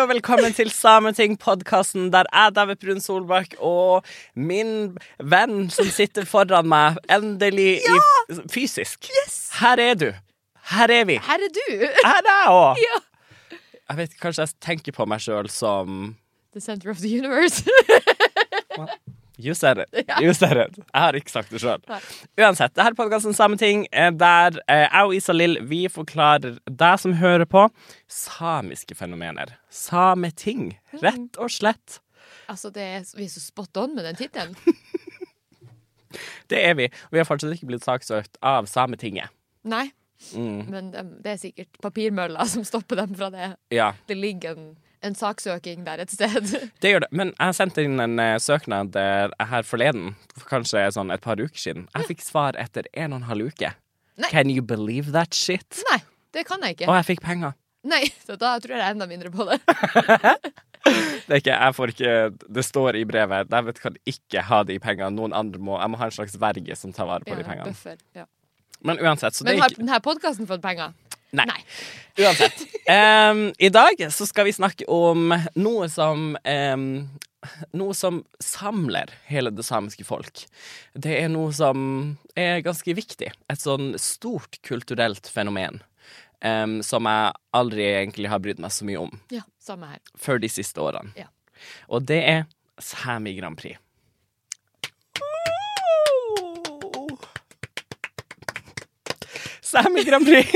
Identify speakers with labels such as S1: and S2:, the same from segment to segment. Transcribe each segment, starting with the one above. S1: og velkommen til Sameting-podkasten, der jeg, David Brun Solbakk, og min venn som sitter foran meg, endelig i, fysisk. Her er du. Her er vi.
S2: Her er du!
S1: Her er jeg òg.
S2: Ja.
S1: Jeg vet ikke, kanskje jeg tenker på meg sjøl som
S2: The center of the universe.
S1: You said it.
S2: Ja.
S1: You said it. Jeg har ikke sagt det sjøl.
S2: Nei.
S1: Uansett, det her er podkasten Sameting, eh, der eh, jeg og Isalill vi forklarer deg som hører på, samiske fenomener. Sameting, rett og slett.
S2: altså, det er, vi er så spot on med den tittelen.
S1: Det er vi. Og vi har fortsatt ikke blitt saksøkt av Sametinget.
S2: Nei,
S1: Mm.
S2: men dem- det er sikkert papirmølla som stopper dem fra det.
S1: Ja,
S2: Det ligger en, en saksøking der et sted.
S1: det gjør det. Men jeg sendte inn en eh, søknad eh, her forleden, for kanskje sånn et par uker siden. Jeg fikk svar etter en og en halv uke.
S2: Nei.
S1: Can you believe that shit?
S2: Nei, det kan jeg ikke.
S1: Og jeg fikk penger.
S2: Nei, så da tror jeg enda mindre på det.
S1: Det er ikke, jeg får ikke, det står i brevet Jeg vet kan ikke ha de pengene. Noen andre må Jeg må ha en slags verge som tar vare på de
S2: Ja,
S1: pengene.
S2: buffer, ja.
S1: Men uansett, så det
S2: Men
S1: er
S2: har
S1: ikke
S2: denne podkasten fått penger?
S1: Nei.
S2: Nei.
S1: Uansett. Em, I dag så skal vi snakke om noe som em, Noe som samler hele det samiske folk. Det er noe som er ganske viktig. Et sånn stort kulturelt fenomen. em, som jeg aldri egentlig har brydd meg så mye om
S2: Ja, samme her.
S1: før de siste årene.
S2: Ja.
S1: Og det er Sami Grand Prix. Sami Grand Prix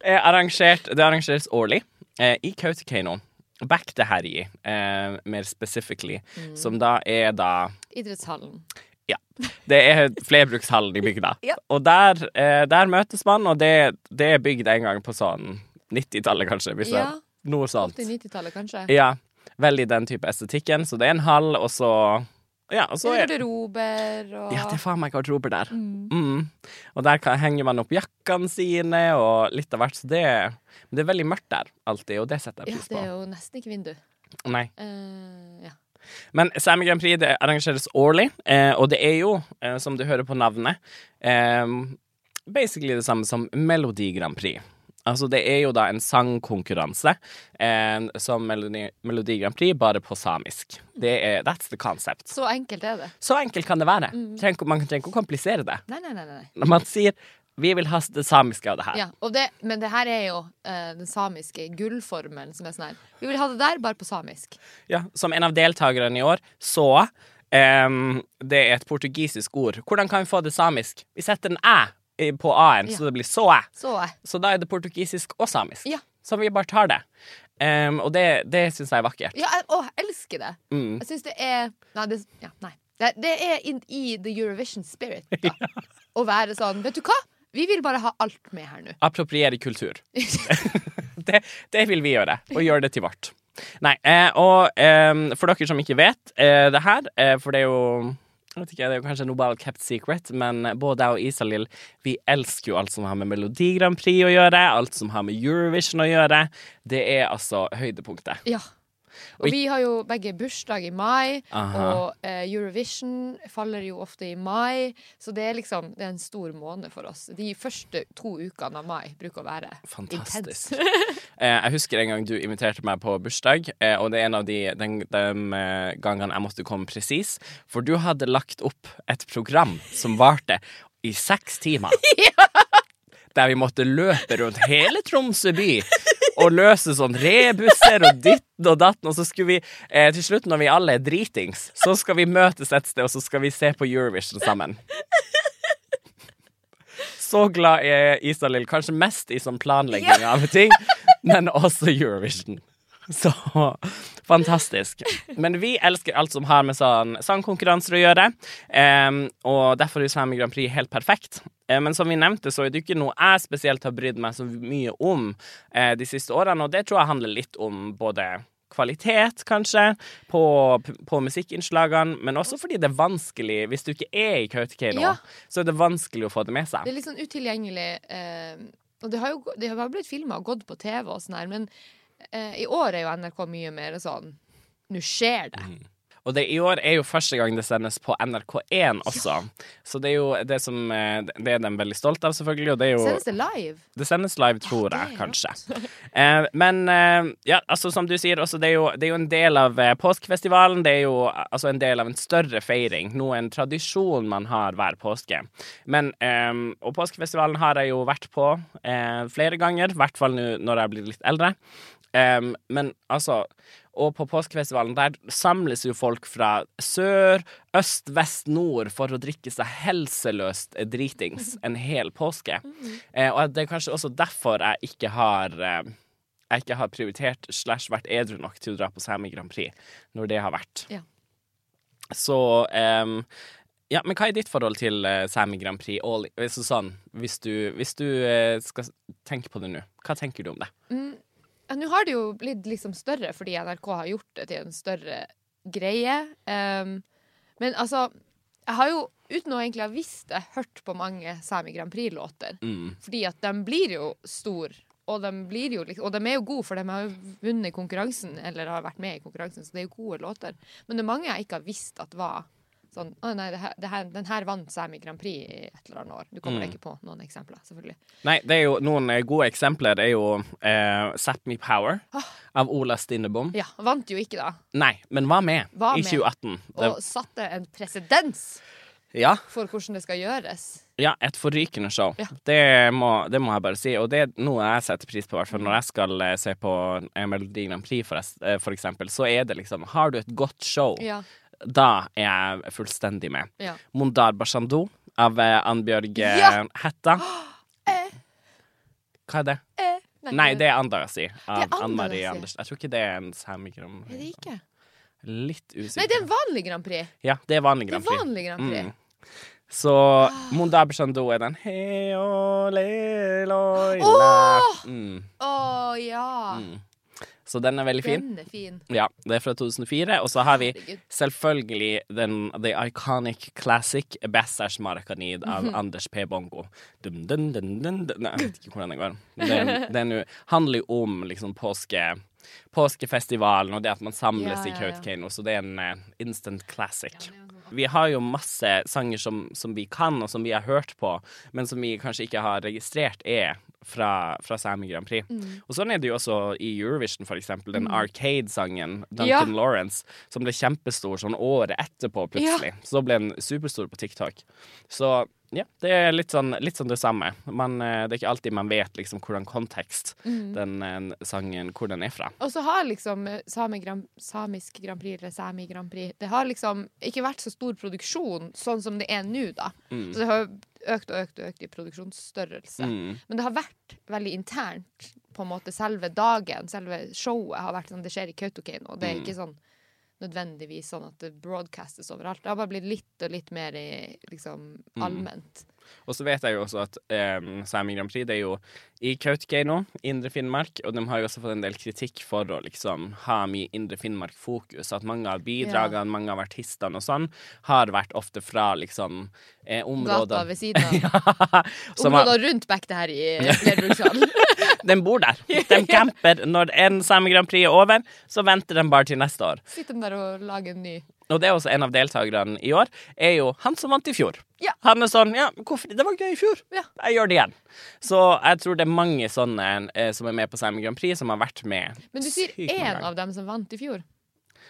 S1: er arrangert, det arrangeres årlig eh, i Kautokeino. Back to Herji, eh, mer specifically,
S2: Mm.
S1: som da er da
S2: Idrettshallen.
S1: ja. Det er flerbrukshallen i bygda.
S2: Ja.
S1: Og der, eh, der møtes man, og det, det er bygd en gang på sånn 90-tallet, kanskje. Hvis
S2: Ja.
S1: jeg- noe sånt.
S2: Til 90-tallet, kanskje.
S1: Ja, veldig den type estetikken. Så det er en hall, og så Ja, og så
S2: Eller
S1: er
S2: garderober og
S1: ja, det er faen meg garderober der. Mm. Og der kan, henger man opp jakkene sine og litt av hvert, så det Men det er veldig mørkt der alltid, og det setter jeg
S2: Ja,
S1: pris
S2: det
S1: på.
S2: er jo nesten ikke vindu.
S1: Nei.
S2: Eh, ja.
S1: Men Sami Grand Prix det arrangeres årlig, eh, og det er jo, eh, som du hører på navnet, eh, basically det samme som Melodi Grand Prix. Altså, det er jo da en sangkonkurranse eh, som Melodi, Melodi Grand Prix, bare på samisk. Det er, that's the concept.
S2: Så enkelt er det.
S1: Så enkelt kan det være.
S2: Mm.
S1: Trenger, man trenger ikke å komplisere det.
S2: Nei, nei, nei. nei.
S1: Når man sier 'vi vil ha det samiske av det her',
S2: Ja, og det, men det her er jo eh, den samiske gullformelen som er sånn her. Vi vil ha det der, bare på samisk.
S1: Ja, som en av deltakerne i år, så ehm, Det er et portugisisk ord. Hvordan kan vi få det samisk? Vi setter en æ i- på a-en, så
S2: Ja.
S1: det blir såæ.
S2: Så eh, jeg.
S1: Så da er det portugisisk og samisk.
S2: Ja.
S1: Så vi bare tar det. Ehm, og det, det syns jeg er vakkert.
S2: Ja, jeg, å, jeg elsker det. Jeg syns det er Nei, det, ja, nei. det, det er in, i the Eurovision spirit, da. Å være sånn Vet du hva? Vi vil bare ha alt med her nå.
S1: Appropriere kultur. det, det vil vi gjøre, og gjøre det til vårt. Nei, eh, og ehm, for dere som ikke vet eh, det her, eh, for det er jo jeg vet ikke, Det er jo kanskje en Nobel kept secret, men både jeg og Isalill vi elsker jo alt som har med Melodi Grand Prix å gjøre, alt som har med Eurovision å gjøre. Det er altså høydepunktet.
S2: Ja. Og
S1: Oi.
S2: vi har jo begge bursdag i mai,
S1: Aha.
S2: og eh, Eurovision faller jo ofte i mai. Så det er liksom det er en stor måned for oss. De første to ukene av mai bruker å være
S1: Fantastisk.
S2: intens.
S1: Eh, jeg husker en gang du inviterte meg på bursdag, eh, og det er en av de den, dem, eh, gangene jeg måtte komme presis, for du hadde lagt opp et program som varte i seks timer. Der vi måtte løpe rundt hele Tromsø by og løse sånn rebusser og ditten og datten, og så skulle vi eh, til slutt, når vi alle er dritings, så skal vi møtes et sted, og så skal vi se på Eurovision sammen. Så glad er Isalill kanskje mest i sånn planlegging av ting, men også Eurovision. Så fantastisk. Men vi elsker alt som har med sånn sangkonkurranser å gjøre, em, og derfor er Sami Grand Prix helt perfekt. Eh, Men som vi nevnte, så er det jo ikke noe jeg spesielt har brydd meg så mye om eh, de siste årene, og det tror jeg handler litt om både kvalitet, kanskje, på, på musikkinnslagene, men også fordi det er vanskelig, hvis du ikke er i Kautokeino,
S2: Ja.
S1: så er det vanskelig å få det med seg.
S2: Det er litt sånn utilgjengelig. Eh, og det har jo det har blitt filma og gått på TV og sånn her, men eh, i år er jo NRK mye mer sånn Nå skjer det.
S1: Og det i år er jo første gang det sendes på NRK1 også. Så det er jo det som eh, Det er de veldig stolte av, selvfølgelig. Og det er jo
S2: Sendes det live?
S1: det sendes live, tror
S2: Ja,
S1: jeg,
S2: det er
S1: kanskje. Eh, men eh, ja, altså, som du sier, også, det, er jo, det er jo en del av eh, påskefestivalen. Det er jo eh, altså, en del av en større feiring, noe en tradisjon man har hver påske. Men, eh, og påskefestivalen har jeg jo vært på eh, flere ganger, i hvert fall nå når jeg blir litt eldre. Eh, men altså og på påskefestivalen der samles jo folk fra sør, øst, vest, nord for å drikke seg helseløst dritings en hel påske. Eh, og det er kanskje også derfor jeg ikke har eh, jeg ikke har prioritert slash vært edru nok til å dra på Sami Grand Prix når det har vært.
S2: Ja.
S1: Så em, ja, men hva er ditt forhold til eh, Sami Grand Prix? All, så sånn, hvis du, hvis du eh, skal tenke på det nå, hva tenker du om det?
S2: Ja, Nå har det jo blitt liksom større fordi NRK har gjort det til en større greie. Ehm, men altså, jeg har jo uten å egentlig ha visst det, hørt på mange Sami Grand Prix-låter.
S1: Mm.
S2: Fordi at de blir jo stor og de, blir jo, liksom- og de er jo gode, for de har jo vunnet konkurransen, eller har vært med i konkurransen, så det er jo gode låter. Men det er mange jeg ikke har visst at var sånn Å nei, det her, det her, den her vant Sami Grand Prix i et eller annet år. Du kommer deg ikke på noen eksempler, selvfølgelig.
S1: Nei, det er jo noen eh, gode eksempler. Det er jo eh, Set Me Power
S2: Ah.
S1: av Ola Stinnebom.
S2: Ja, vant jo ikke, da.
S1: Nei, men hva med?
S2: Hva
S1: I
S2: med?
S1: 2018. Det,
S2: Og satte en presedens
S1: ja.
S2: for hvordan det skal gjøres.
S1: Ja, et forrykende show.
S2: Ja.
S1: Det, må, det må jeg bare si. Og det er noe jeg setter pris på, i hvert fall når jeg skal eh, se på eh, Melodi Grand Prix, for, es- eh, for eksempel. Så er det liksom Har du et godt show,
S2: Ja.
S1: da er jeg fullstendig med.
S2: Ja.
S1: Mondar Bashandou av eh, Annbjørg eh,
S2: Ja! Eh.
S1: Hætta. Hva er det? Nei, det er Andasi. Av
S2: Det er
S1: Ann Marie
S2: Andasi.
S1: Andersen. Jeg tror ikke det er en samigram.
S2: Er det ikke?
S1: Litt
S2: Nei, det er
S1: usikker.
S2: en vanlig Grand Prix.
S1: Ja, det er vanlig
S2: Det er
S1: Grand Prix.
S2: vanlig Ah. Grand Prix.
S1: Mm. Så Mondar Bashandou er den Hei, å, le, lo, i, la.
S2: Åh!
S1: Mm.
S2: Å ja.
S1: Så den Mm. er veldig fin.
S2: Den er fin.
S1: Ja, det er fra 2004. Og så har vi
S2: Herregud.
S1: selvfølgelig den the iconic classic Bessers Maracanid av
S2: Mhm.
S1: Anders P. Bongo. Dum, dun, dun, dun, dun. Nei, jeg vet ikke hvordan det går. Men Det, det er nå- handler jo om liksom påske, påskefestivalen og det at man samles
S2: Ja, ja,
S1: i
S2: ja.
S1: Kautokeino, så det er en eh, instant classic. Vi har jo masse sanger som, som vi kan, og som vi har hørt på, men som vi kanskje ikke har registrert er fra, fra Sami Grand Prix. Og sånn er det jo også i Eurovision, for eksempel. Den Arcade-sangen, Duncan
S2: Ja.
S1: Lawrence, som ble kjempestor sånn året etterpå, plutselig. Så ble den superstor på TikTok. Så ja, det er litt sånn, litt sånn det samme. Man, eh, det er ikke alltid man vet liksom hvordan kontekst den eh, sangen hvor den er fra.
S2: Og så har liksom eh, Sami Grand, samisk Grand Prix eller Sami Grand Prix Det har liksom ikke vært så stor produksjon sånn som det er nå, da. Så det har økt og økt og økt i produksjonsstørrelse. Men det har vært veldig internt, på en måte. Selve dagen, selve showet, har vært sånn Det skjer i Kautokeino. og Det er ikke sånn nødvendigvis sånn at det broadcastes overalt. Det har bare blitt litt og litt mer i, liksom, allment.
S1: Og så vet jeg jo også at um, Sami Grand Prix det er jo i Kautokeino, Indre Finnmark, og de har jo også fått en del kritikk for å liksom ha mye Indre Finnmark-fokus. At mange av bidragene, mange av artistene og sånn, har vært ofte fra liksom eh,
S2: Gata
S1: områder
S2: ved siden av.
S1: som har-
S2: Områder rundt back det her i Lerbrukshallen.
S1: De bor der. De camper. Når en Sami Grand Prix er over, så venter de bare til neste år.
S2: Sitter de der og lager en ny.
S1: Og det er også en av deltakerne i år, er jo han som vant i fjor.
S2: Ja.
S1: Han er sånn Ja, hvorfor, det var gøy i fjor.
S2: Ja.
S1: Jeg gjør det igjen. Så jeg tror det er mange sånne eh, som er med på Sami Grand Prix, som har vært med.
S2: Men du sier
S1: sykt mange
S2: én
S1: ganger.
S2: av dem som vant i fjor.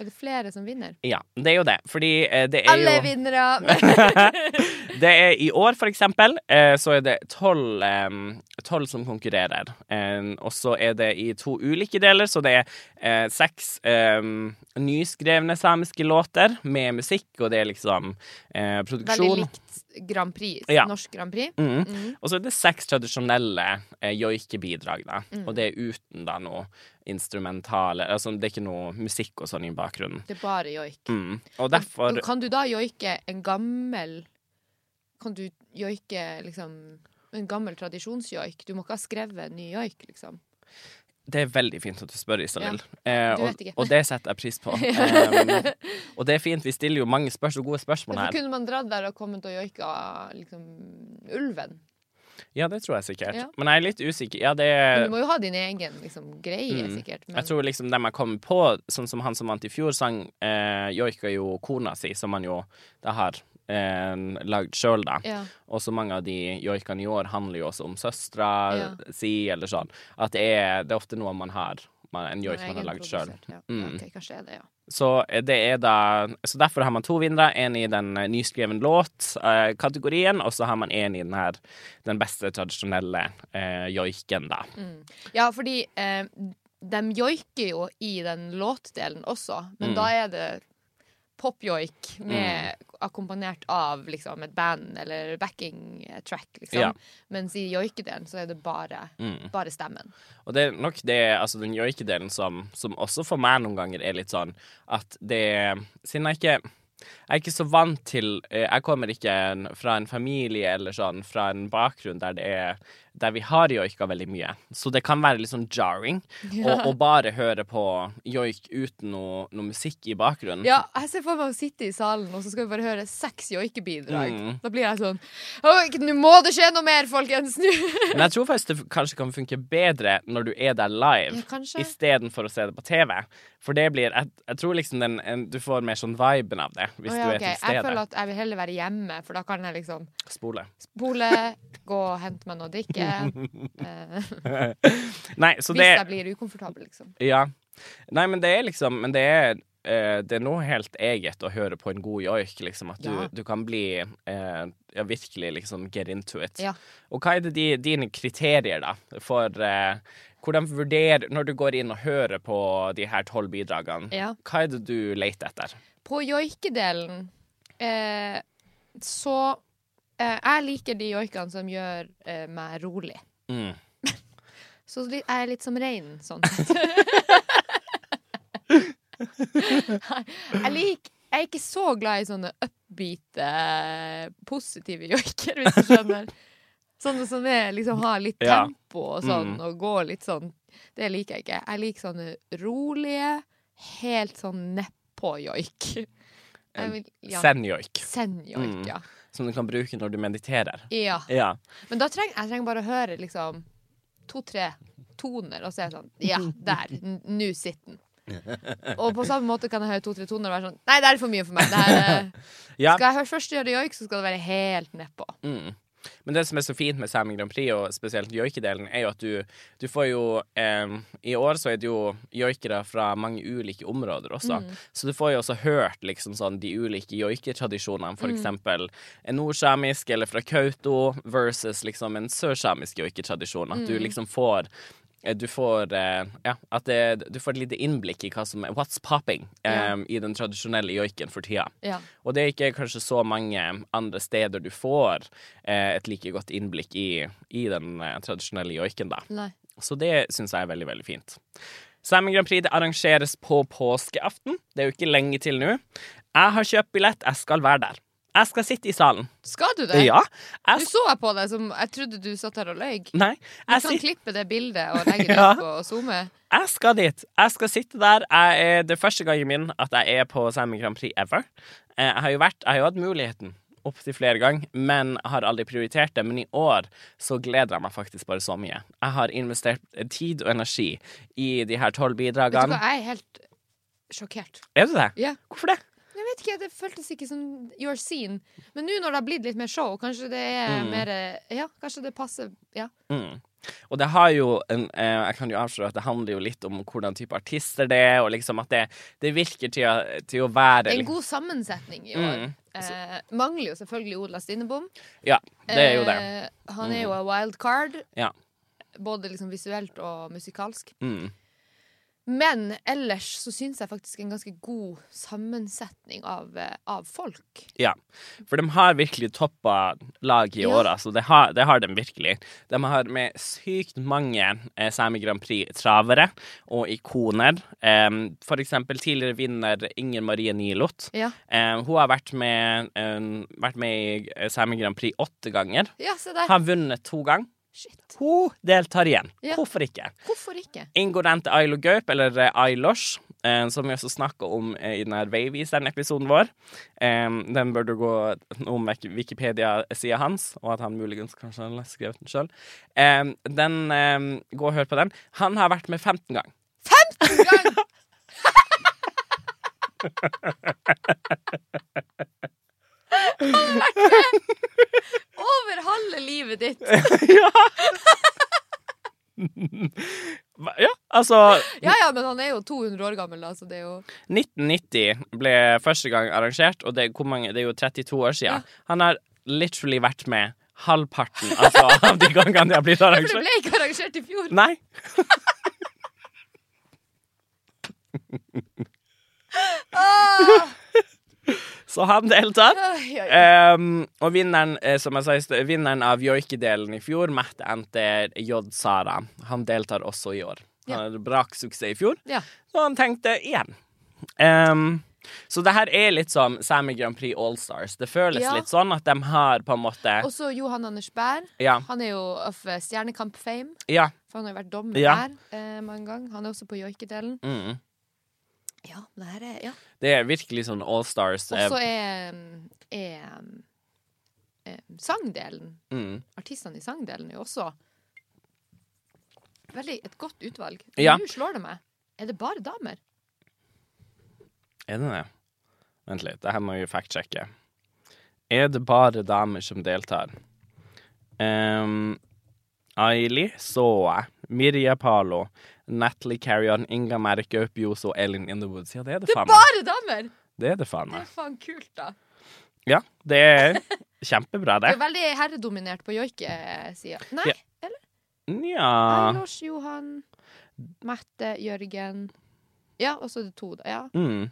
S2: Er det flere som vinner?
S1: Ja, det er jo det. Fordi eh, det er
S2: Alle er
S1: jo
S2: vinnere!
S1: Det er i år, for eksempel, eh, så er det tolv eh, Tolv som konkurrerer. Eh, og så er det i to ulike deler, så det er eh, seks eh, nyskrevne samiske låter med musikk, og det er liksom eh,
S2: Veldig
S1: produksjon.
S2: likt Grand Prix.
S1: Ja.
S2: Norsk Grand Prix.
S1: Mm. Og så er det seks tradisjonelle eh, joikebidrag, da.
S2: Mm.
S1: Og det er uten da noe instrumentale Altså det er ikke noe musikk og sånn i bakgrunnen.
S2: Det er bare joik.
S1: Mm. Og derfor
S2: Og Kan du da joike en gammel Kan du joike liksom en gammel tradisjonsjoik? Du må ikke ha skrevet en ny joik, liksom.
S1: Det er veldig fint at du spør, Isalill.
S2: du
S1: Eh,
S2: vet
S1: og,
S2: ikke.
S1: og det setter jeg pris på. Eh, og det er fint. Vi stiller jo mange spørsmål, gode spørsmål
S2: Derfor
S1: her.
S2: kunne man dratt der og kommet og joika liksom ulven.
S1: Ja, det tror jeg sikkert.
S2: Ja.
S1: Men jeg er litt usikker. Ja, det
S2: Men du må jo ha din egen liksom, greie, sikkert.
S1: Eh.
S2: Men
S1: Mm. Jeg tror liksom dem jeg kom på, sånn som han som vant i fjor, sang eh, joika jo kona si, som han jo da har eh, lagd sjøl, da.
S2: Ja.
S1: Og så mange av de joikene i år handler jo også om søstera
S2: Ja.
S1: si, eller sånn. At det er, det er ofte noe man har. Man, en joik man har lagd sjøl.
S2: egenprodusert, Ja.
S1: Mm.
S2: Ok, kanskje det er det, ja.
S1: Så eh, det er da Så derfor har man to vinnere. En i den eh, nyskreven låt-kategorien, og så har man en i den her den beste tradisjonelle eh, joiken, da.
S2: Ja, fordi eh, de joiker jo i den låtdelen også,
S1: Mm.
S2: men da er det popjoik med akkompagnert av liksom, et band eller backing eh, track, liksom.
S1: Ja. Mm.
S2: Mens i joikedelen så er det bare, bare stemmen.
S1: Og det er nok det, altså den joikedelen som, som også for meg noen ganger er litt sånn at det Siden jeg ikke jeg er ikke så vant til eh, Jeg kommer ikke en, fra en familie eller sånn, fra en bakgrunn der det er Der vi har joika veldig mye. Så det kan være litt sånn jarring å å bare høre på joik uten noe, noe musikk i bakgrunnen.
S2: Ja, jeg ser for meg å sitte i salen, og så skal vi bare høre seks joikebidrag.
S1: Mm.
S2: Da blir jeg sånn «Åh, Nå må det skje noe mer, folkens! Nå!
S1: Men jeg tror faktisk det f- kanskje kan funke bedre når du er der live,
S2: Ja, kanskje.
S1: istedenfor å se det på TV. For det blir Jeg, jeg tror liksom den en, Du får mer sånn viben av det hvis
S2: Å ja,
S1: du er
S2: ok.
S1: til
S2: Jeg føler
S1: stede.
S2: at jeg vil heller være hjemme, for da kan jeg liksom
S1: Spole.
S2: spole, gå og hente meg noe å drikke. Eh,
S1: Nei, så
S2: Hvis
S1: det
S2: jeg blir ukomfortabel, liksom.
S1: Ja. Nei, men det er liksom Men det er eh, det er noe helt eget å høre på en god joik, liksom. At du,
S2: Ja.
S1: du kan bli eh, Ja, virkelig liksom get into it.
S2: Ja.
S1: Og hva er det de, dine kriterier, da, for eh, hvordan vurderer Når du går inn og hører på de her tolv bidragene,
S2: Ja.
S1: hva er det du leter etter?
S2: På joikedelen eh, så eh, Jeg liker de joikene som gjør eh, meg rolig.
S1: Mm.
S2: Så li- jeg er litt som reinen, sånn sett. Nei, jeg liker jeg er ikke så glad i sånne upbeate, positive joiker, hvis du skjønner. Sånne som er, liksom har litt
S1: Ja. Mm.
S2: tempo og sånn, og går litt sånn. Det liker jeg ikke. Jeg liker sånne rolige, helt sånn nedpå-joik. Jeg vil- Ja,
S1: Senjoik,
S2: Send-joik,
S1: Mm.
S2: ja.
S1: som du kan bruke når du mediterer.
S2: ja.
S1: Ja.
S2: Men da trenger jeg trenger bare å høre liksom to-tre toner, og så er jeg sånn Ja, der. n- Nå sitter den. Og på samme måte kan jeg høre to-tre toner og være sånn Nei, det er for mye for meg. Det her, eh,
S1: Ja.
S2: skal jeg høre først gjøre joik, så skal det være helt nedpå.
S1: Mm. Men det som er så fint med Sami Grand Prix, og spesielt joikedelen, er jo at du, du får jo eh, I år så er det jo joikere fra mange ulike områder også. Så du får jo også hørt liksom sånn de ulike joiketradisjonene, for eksempel en nordsamisk eller fra Kautokeino versus liksom en sørsamisk joiketradisjon. At du liksom får eh, du får, eh, ja, at det, du får et lite innblikk i hva som er what's popping eh,
S2: Ja.
S1: i den tradisjonelle joiken for tida.
S2: Ja.
S1: Og det er ikke kanskje så mange andre steder du får eh, et like godt innblikk i, i den eh, tradisjonelle joiken, da.
S2: Nei.
S1: Så det syns jeg er veldig, veldig fint. Salmon Grand Prix det arrangeres på påskeaften. Det er jo ikke lenge til nå. Jeg har kjøpt billett, jeg skal være der. Jeg skal sitte i salen.
S2: Skal du det?
S1: Ja.
S2: Du
S1: Jeg, s-
S2: så jeg på deg som Jeg trodde du satt her og løy. Du
S1: nei, jeg
S2: kan
S1: sitter
S2: klippe det bildet og legge det
S1: Ja.
S2: ut på SoMe.
S1: Jeg skal dit. Jeg skal sitte der. Jeg er det er første gangen min at jeg er på Salmon Grand Prix ever. Eh, Jeg har jo vært, jeg har jo hatt muligheten opptil flere ganger, men har aldri prioritert det. Men i år så gleder jeg meg faktisk bare så mye. Jeg har investert eh, tid og energi i de her tolv
S2: Vet du hva,
S1: bidragene.
S2: jeg er helt sjokkert.
S1: Er du det?
S2: Ja.
S1: Hvorfor det?
S2: Jeg vet ikke, det føltes ikke som your scene. Men nå når det har blitt litt mer show, kanskje det er mer eh, Ja, kanskje det passer Ja.
S1: Mm. Og det har jo en, eh, Jeg kan jo avsløre at det handler jo litt om hvordan type artister det er, og liksom at det, det virker til å, til å være
S2: Det er
S1: litt-
S2: en god sammensetning i år.
S1: Mm.
S2: Eh, mangler jo selvfølgelig Odla Stinebom.
S1: Ja, det er jo det. Mm.
S2: Eh, han er jo en wild card,
S1: Ja.
S2: både liksom visuelt og musikalsk.
S1: Mm.
S2: Men ellers så syns jeg faktisk en ganske god sammensetning av, eh, av folk.
S1: Ja, for de har virkelig toppa lag i
S2: Ja.
S1: år, altså. Det har, det har de virkelig. De har med sykt mange eh, Sami Grand Prix-travere og ikoner. Em, for eksempel tidligere vinner Inger Marie Nilot.
S2: Ja,
S1: Em, hun har vært med, em, vært med i eh, Sami Grand Prix åtte ganger.
S2: ja se der.
S1: Har vunnet to ganger.
S2: Shit.
S1: Hun deltar igjen.
S2: Ja.
S1: Hvorfor ikke?
S2: Hvorfor ikke?
S1: Ingrid Rente Ailo Gaup, eller eh, Ailosh, eh, som vi også snakka om eh, i den her Veiviseren-episoden vår. Eh, den bør du gå om Wik- Wikipedia-sida hans, og at han muligens kanskje har skrevet den sjøl. Eh, den, eh, gå og hør på den. Han har vært med 15 ganger.
S2: Gang! Over halve livet ditt.
S1: ja. ja, altså
S2: Ja ja, men han er jo 200 år gammel, da, så det er jo
S1: 1990 ble første gang arrangert, og det, er- hvor mange, det er jo 32 år siden. Han har literally vært med halvparten altså, av de gangene det Mm. har blitt
S2: For det
S1: arrangert.
S2: ble ikke arrangert i fjor.
S1: Nei.
S2: Ah!
S1: Så han deltar.
S2: Oi, oi, oi.
S1: Um, og vinneren eh, som jeg sa i sted, vinneren av joikedelen i fjor, Matt Enter J. Sara, han deltar også i år. Han
S2: Ja.
S1: hadde braksuksess i fjor,
S2: Ja.
S1: så han tenkte igjen. Um, så det her er litt som Sami Grand Prix All Stars. Det føles
S2: Ja.
S1: litt sånn at de har på en måte
S2: Og så Johan Anders Bær.
S1: Ja.
S2: Han er jo of eh, Stjernekamp-fame.
S1: ja.
S2: For han har jo vært dommer
S1: Ja.
S2: der eh, mange ganger. Han er også på joikedelen.
S1: Mm.
S2: Ja, men det her er ja.
S1: Det er virkelig sånn all stars.
S2: Og så er, mm, er eh, sangdelen.
S1: Mm.
S2: Artistene i sangdelen er jo også veldig et godt utvalg. Men
S1: Ja.
S2: Nå slår det meg. Er det bare damer?
S1: Er det det? Vent litt, det her må vi fact-sjekke. Er det bare damer som deltar? Ehm, Aili Soa, Mirja Palo, Natalie Carrion, Inga Merke, Upjos og Elin in the Woods. Ja, det er det,
S2: Det er
S1: faen meg.
S2: bare damer!
S1: Det er det faen
S2: Det
S1: meg.
S2: er faen kult, da.
S1: Ja, det er kjempebra,
S2: Det
S1: det.
S2: er veldig herredominert på joikesida. Nei,
S1: Ja. Ah.
S2: eller? Nei,
S1: Nja
S2: Lars Johan, Mette, Jørgen Ja, og så er det to, da. Ja.
S1: mm.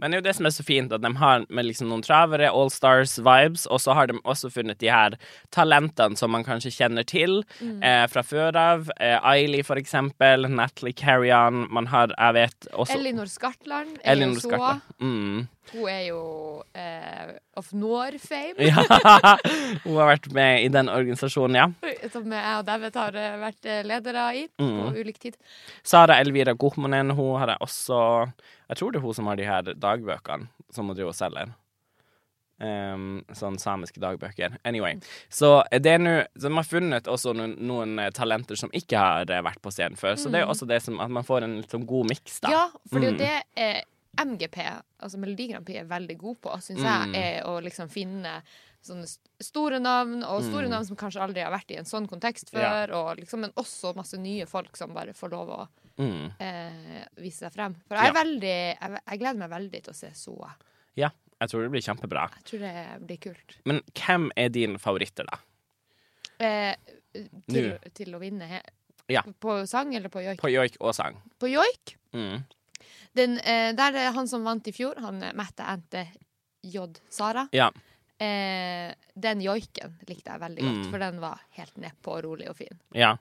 S1: Men det er jo det som er så fint, at de har med liksom noen travere, all stars-vibes, og så har de også funnet de her talentene som man kanskje kjenner til eh, fra før av. Eh, Ailey, for eksempel. Natalie Carrion. Man har, jeg vet også
S2: Elinor Skartland. er jo
S1: Elinor
S2: så-
S1: Skarta. Mm.
S2: Hun er jo eh, of Nor-fame.
S1: Ja. Hun har vært med i den organisasjonen, ja. Mm.
S2: Som jeg og David har eh, vært eh, ledere i på ulik tid.
S1: Sara Elvira Gohmonen, hun har jeg også Jeg tror det er hun som har de her dagbøkene som hun driver og selger. Ehm, sånn samiske dagbøker. Anyway. Så det er nå Så de har funnet også noen, noen eh, talenter som ikke har eh, vært på scenen før. Så det er jo også det som at man får en litt sånn god miks, da.
S2: Ja, for det
S1: Mm.
S2: er jo det eh, MGP, altså Melodi Grand Prix, er veldig god på, syns
S1: Mm.
S2: jeg, er å liksom finne sånne st- store navn, og store navn som kanskje aldri har vært i en sånn kontekst
S1: Mm. Ja.
S2: før, og liksom, men også masse nye folk som bare får lov å
S1: Mm.
S2: eh, vise seg frem. For jeg er
S1: Ja.
S2: veldig jeg, jeg gleder meg veldig til å se Soa.
S1: ja. Jeg tror det blir kjempebra.
S2: Jeg tror det blir kult.
S1: Men hvem er dine favoritter, da?
S2: Eh, til,
S1: Nå.
S2: til å vinne he
S1: Ja.
S2: På sang eller på joik?
S1: På joik og sang.
S2: På joik?
S1: Mm.
S2: Den, eh, der er han som vant i fjor, han eh, Mette Ente J. Sara.
S1: Ja.
S2: Eh, den joiken likte jeg veldig godt,
S1: Mm.
S2: for den var helt nedpå og rolig og fin.
S1: ja.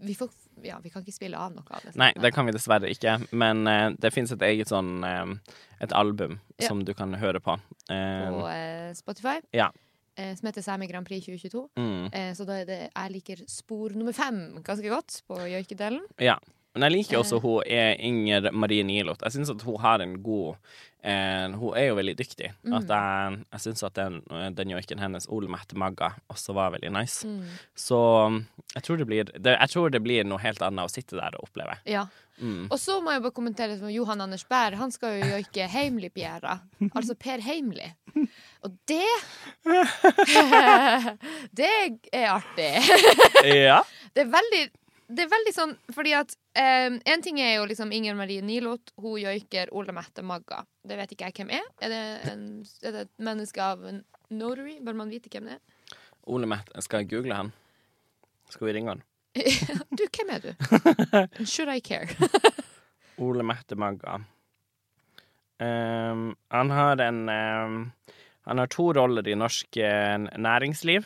S2: Vi, får, ja, vi kan ikke spille av noe av det.
S1: Nei, det kan vi dessverre ikke. Men eh, det fins et eget sånn eh, Et album
S2: Ja.
S1: som du kan høre på. Eh,
S2: På eh, Spotify,
S1: Ja.
S2: eh, som heter Sami Grand Prix 2022.
S1: Mm,
S2: Eh, så da er det jeg liker spor nummer fem ganske godt på joikedelen.
S1: ja. Men jeg liker
S2: Eh.
S1: også hun er Inger Marie Nilot. Jeg syns at hun har en god eh, Hun er jo veldig dyktig. At
S2: Mm.
S1: jeg jeg syns at den, eh, den joiken hennes, Ole Mette Magga, også var veldig nice.
S2: Mm.
S1: Så jeg tror, det blir, det, jeg tror det blir noe helt annet å sitte der og oppleve.
S2: Ja.
S1: Mm.
S2: Og så må jeg bare kommentere det som Johan Anders Bær. Han skal jo joike Heimli-Bjæra. Altså Per Heimli. Og det Det er artig.
S1: Ja.
S2: Det er veldig, det er veldig sånn fordi at eh, En ting er jo liksom Inger Marie Nilot. Hun joiker Ole Mette Magga. Det vet ikke jeg hvem er. Er det, en, er det et menneske av en notary? Bør man vite hvem det er?
S1: Ole Mette, skal jeg google han? Skal vi ringe han?
S2: Du, hvem er du? Should I care?
S1: Ole Mette Magga. Ehm, han har en ehm, Han har to roller i norsk eh, næringsliv.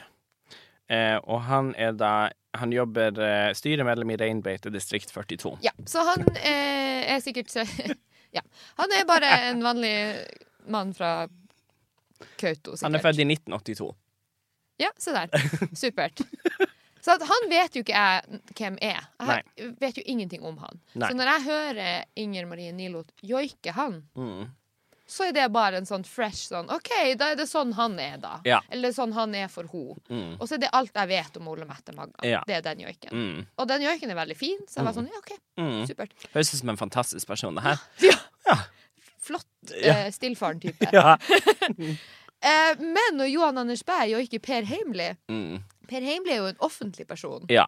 S1: Eh, og han er da Han jobber eh, styremedlem i Reinbeite distrikt 42.
S2: Ja, så han eh, er sikkert så- Ja. Han er bare en vanlig mann fra Kautokeino, sikkert.
S1: Han er født i 1982.
S2: Ja, se der. Supert. Så at han vet jo ikke jeg hvem er. Jeg har-
S1: Nei.
S2: vet jo ingenting om han.
S1: Nei.
S2: Så når jeg hører Inger Marie Nilot joike han,
S1: Mm.
S2: så er det bare en sånn fresh sånn OK, da er det sånn han er, da.
S1: Ja.
S2: Eller sånn han er for henne.
S1: Mm.
S2: Og så er det alt jeg vet om Ole Mette Magna.
S1: Ja.
S2: Det er den joiken.
S1: Mm.
S2: Og den joiken er veldig fin, så jeg var sånn ja, OK,
S1: Mm.
S2: supert.
S1: Høres ut som en fantastisk person, det her.
S2: Ja.
S1: Ja.
S2: Flott
S1: Ja.
S2: eh, stillfaren-type.
S1: Ja.
S2: eh, men når Johan Anders Berg joiker Per Heimli
S1: Mm.
S2: Per Heimli er jo en offentlig person.
S1: ja.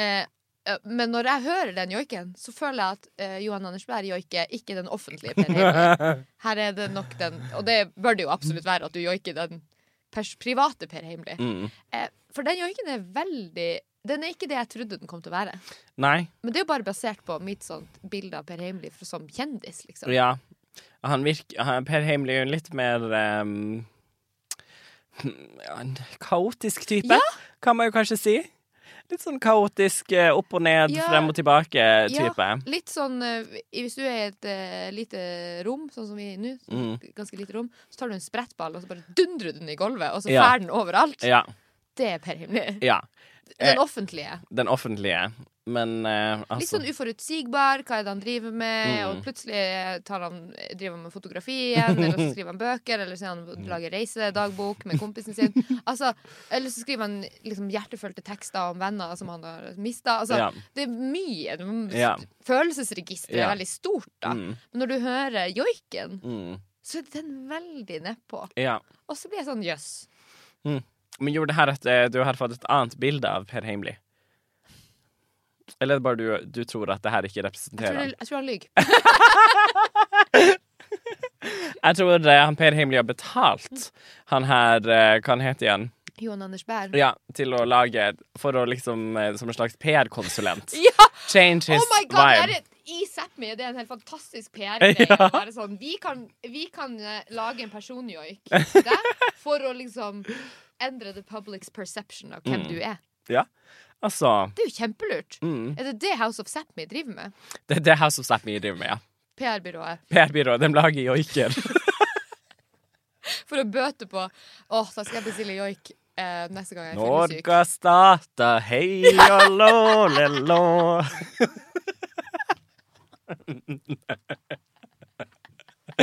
S2: Eh, eh, men når jeg hører den joiken, så føler jeg at eh, Johan Anders Berg joiker ikke den offentlige Per Heimli. Her er det nok den Og det bør det jo absolutt være at du joiker den pers private Per Heimli.
S1: Mm.
S2: Eh, for den joiken er veldig Den er ikke det jeg trodde den kom til å være.
S1: Nei.
S2: Men det er jo bare basert på mitt sånt bilde av Per Heimli fra- som kjendis, liksom.
S1: Ja. Han virker han- Per Heimly er jo en litt mer ehm, ja, en kaotisk type,
S2: Ja.
S1: kan man jo kanskje si. Litt sånn kaotisk eh, opp og ned,
S2: Ja.
S1: frem og tilbake-type.
S2: Ja, litt sånn eh, Hvis du er i et eh, lite rom, sånn som vi er nå,
S1: Mm.
S2: ganske lite rom, så tar du en sprettball og så bare dundrer du den i gulvet, og så
S1: Ja.
S2: fær den overalt.
S1: Ja.
S2: Det er Per Heimli.
S1: ja. Eh,
S2: Den offentlige.
S1: Den offentlige. Men eh,
S2: Litt
S1: altså
S2: sånn uforutsigbar. Hva er det han driver med?
S1: Mm.
S2: Og plutselig tar han, driver han med fotografi igjen, eller så skriver han bøker, eller så er
S1: Mm.
S2: han lager reisedagbok med kompisen sin. Altså, eller så skriver han liksom hjertefølte tekster om venner som han har mista. Altså,
S1: Ja.
S2: Det er mye. Det-
S1: Ja.
S2: Følelsesregisteret
S1: Ja.
S2: er veldig stort, da.
S1: Mm,
S2: Men når du hører joiken,
S1: mm,
S2: så er den veldig nedpå.
S1: ja.
S2: Og så blir jeg sånn jøss.
S1: Men gjorde det her at eh, du har fått et annet bilde av Per Heimly? Eller er det bare du, du tror at det her ikke
S2: Jeg
S1: representerer
S2: tror,
S1: han?
S2: det- jeg tror han lyver.
S1: Jeg tror eh, han Per Heimly har betalt
S2: Mm.
S1: han her, eh, hva han heter igjen,
S2: Johan Anders Berg.
S1: ja, til å lage For å liksom eh, Som en slags PR-konsulent.
S2: Ja!
S1: Change his
S2: Oh my god, det
S1: vibe.
S2: er et, i Sápmi det er en helt fantastisk PR-greie. å være Sånn, vi, kan, vi kan eh, lage en personjoik til deg for å liksom endre the public's perception av
S1: Mm.
S2: hvem du er.
S1: Ja. Altså
S2: Det er jo kjempelurt.
S1: mm.
S2: Er det det House of Sápmi driver med?
S1: Det det er det her som Sápmi driver med, ja.
S2: PR-byrået.
S1: PR-byrået, de lager joiker.
S2: For å bøte på Å, da skal jeg bestille joik eh, neste gang jeg er fyllesyk.
S1: Norge starta, hei og lå, le, lå.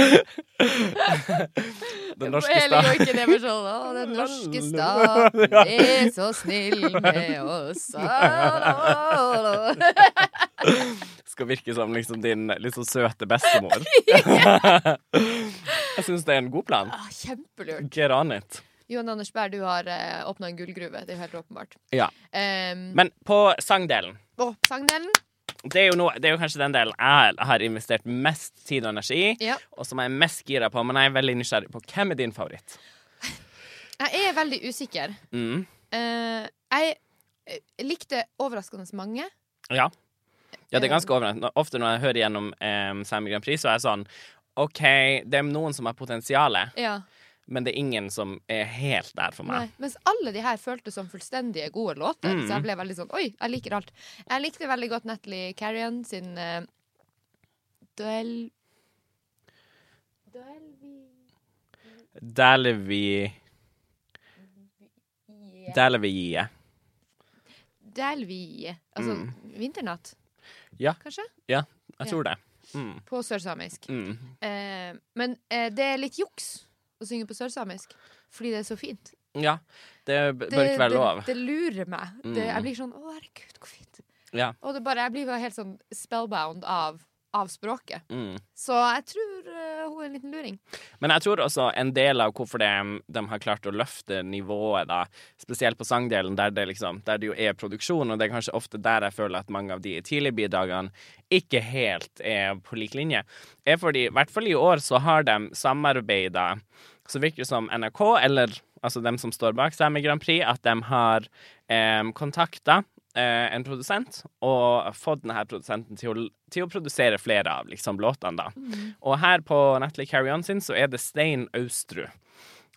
S1: Den norske
S2: Hele
S1: stat...
S2: joiken er bare sånn Å, den norske staten er så snill med oss. Ah, ah, ah.
S1: skal virke som liksom din litt så søte bestemor. jeg syns det er en god plan.
S2: Ah, Kjempelurt.
S1: Get on it.
S2: Johan Anders Berg, du har uh, åpna en gullgruve. Det er jo helt åpenbart.
S1: Ja.
S2: Um,
S1: Men på sangdelen
S2: å, sangdelen.
S1: det er, jo noe, det er jo kanskje den delen jeg har investert mest tid og energi i,
S2: Ja.
S1: og som jeg er mest gira på. Men jeg er veldig nysgjerrig på hvem er din favoritt.
S2: Jeg er veldig usikker.
S1: Mm.
S2: Eh, jeg eh, likte overraskende mange.
S1: Ja. ja, det er ganske overraskende. Ofte når jeg hører gjennom um, Sami Grand Prix, så er jeg sånn OK, det er noen som har potensial,
S2: Ja,
S1: men det er ingen som er helt der for
S2: nei.
S1: meg.
S2: Mens alle de her føltes som fullstendige gode låter. Så jeg ble veldig sånn Oi, jeg liker alt. Jeg likte veldig godt Natalie Carrion sin eh, Duell
S1: Dælevi Dælevi-giet.
S2: Delvie. Altså Vinternatt,
S1: Ja.
S2: kanskje?
S1: Ja, jeg tror det.
S2: På sørsamisk.
S1: Mm.
S2: Eh, men eh, det er litt juks å synge på sørsamisk, fordi det er så fint.
S1: Ja. Det b- bør ikke være lov.
S2: Det, det lurer meg. Det, jeg blir sånn Å, herregud, hvor fint.
S1: Mm. Ja.
S2: Og det bare, jeg blir bare helt sånn spellbound av, av språket.
S1: Mm.
S2: Så jeg tror eh, hun er en liten luring.
S1: Men jeg tror også en del av hvorfor de, de har klart å løfte nivået, da, spesielt på sangdelen, der det, liksom, der det jo er produksjon, og det er kanskje ofte der jeg føler at mange av de tidlige bidragene ikke helt er på lik linje, er fordi, i hvert fall i år, så har de samarbeida, så virker det som NRK, eller altså dem som står bak Sami Grand Prix, at de har eh, kontakta eh, en produsent og fått denne produsenten til å, til å produsere flere av liksom, låtene, da. Og her på Natalie Carrion sin så er det Stein Austrud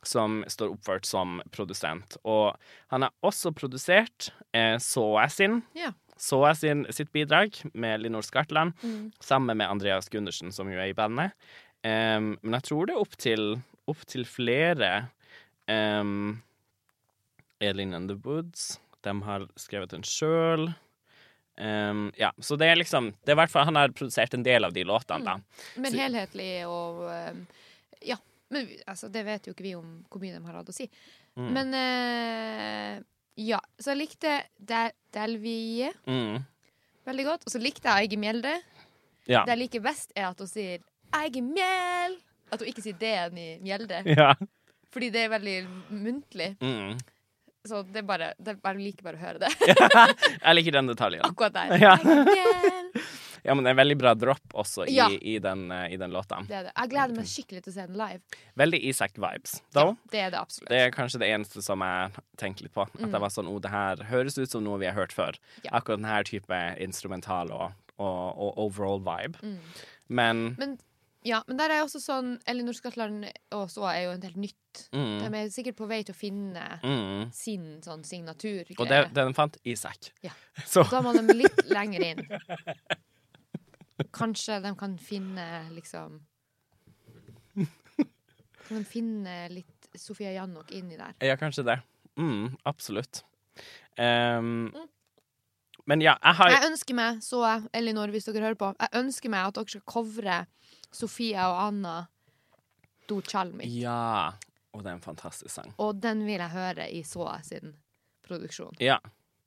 S1: som står oppført som produsent. Og han har også produsert eh, Såa sin,
S2: Ja.
S1: Såa sin sitt bidrag med Linor Skartland, sammen med Andreas Gundersen, som jo er i bandet. Em, men jeg tror det er opp til, opp til flere um, Elin and the Woods De har skrevet den sjøl. Ehm, ja, så det er liksom Det er i hvert fall Han har produsert en del av de låtene, da.
S2: Men
S1: Så-
S2: helhetlig og eh, Ja. Men vi- altså, det vet jo ikke vi om hvor mye de har hatt å si.
S1: Mm.
S2: Men eh, ja. Så jeg likte Del- Delvie
S1: Mm.
S2: veldig godt. Og så likte jeg Eige Mjelde.
S1: Ja.
S2: Det jeg liker best, er at hun sier Eige Mjel. At hun ikke sier D-en i Mjelde.
S1: ja.
S2: Fordi det er veldig muntlig.
S1: Mm.
S2: Så det er bare, det er bare jeg liker bare å høre det.
S1: Jeg liker den detaljen.
S2: Akkurat der.
S1: Ja.
S2: Eige Mjel.
S1: Ja, men det er veldig bra drop også i,
S2: Ja.
S1: i, den, eh, i den låta.
S2: Det er det. Jeg gleder meg skikkelig til å se den live.
S1: Veldig Isak-vibes, though.
S2: Det er det absolutt.
S1: Det er kanskje det eneste som jeg tenkte litt på. At jeg var sånn, oh, det her høres ut som noe vi har hørt før.
S2: Mm. Ja.
S1: Akkurat denne type instrumental og, og, og overall vibe.
S2: Mm.
S1: Men
S2: Men, ja, men der er jo også sånn Elinor Skatland og så er jo en helt nytt. De
S1: mm,
S2: er sikkert på vei til å finne
S1: mm.
S2: sin sånn signatur.
S1: Og det, den fant Isak.
S2: Ja.
S1: Så
S2: Da må de litt lenger inn. Kanskje de kan finne liksom Kan de finne litt Sofia Jannok inni der?
S1: ja, kanskje det. Mm, absolutt. Ehm, Men ja, jeg har
S2: Jeg ønsker meg, så jeg, Elinor, hvis dere hører på, jeg ønsker meg at dere skal covre Sofia og Anna Dochalmi.
S1: Ja. Og det er en fantastisk sang.
S2: Og den vil jeg høre i så jeg sin produksjon.
S1: Ja.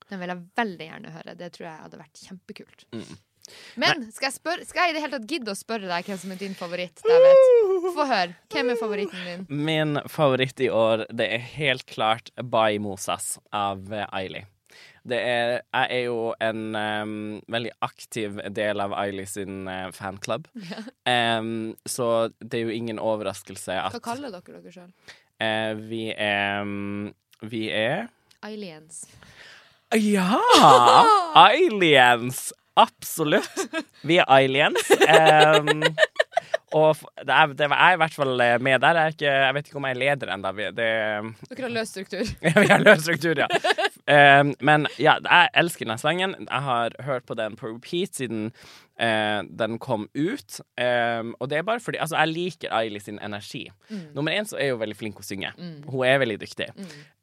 S2: Den vil jeg veldig gjerne høre. Det tror jeg hadde vært kjempekult.
S1: Mm.
S2: Men skal jeg, spørre, skal jeg i det hele tatt gidde å spørre deg hvem som er din favoritt? Det jeg vet. Få høre. Hvem er favoritten din?
S1: Min favoritt i år, det er helt klart By Mosas av eh, Aili. Det er, jeg er jo en em, veldig aktiv del av Aili sin eh, fanklubb. Em, så det er jo ingen overraskelse at
S2: Hva kaller dere dere sjøl?
S1: eh, vi er mm, Vi er
S2: Aliens.
S1: Ja! Aliens! Absolutt. Vi er aliens. Um, og f- det er, det var, jeg er i hvert fall eh, med der. Jeg, er ikke, jeg vet ikke om jeg er leder ennå. Det
S2: Dere har løs struktur.
S1: Vi har løs struktur, ja. Ehm, men ja, jeg elsker denne sangen. Jeg har hørt på den på repeat siden eh, den kom ut. Ehm, og det er bare fordi Altså, jeg liker Aili sin energi. Nummer én så er hun veldig flink å synge. Hun er veldig dyktig.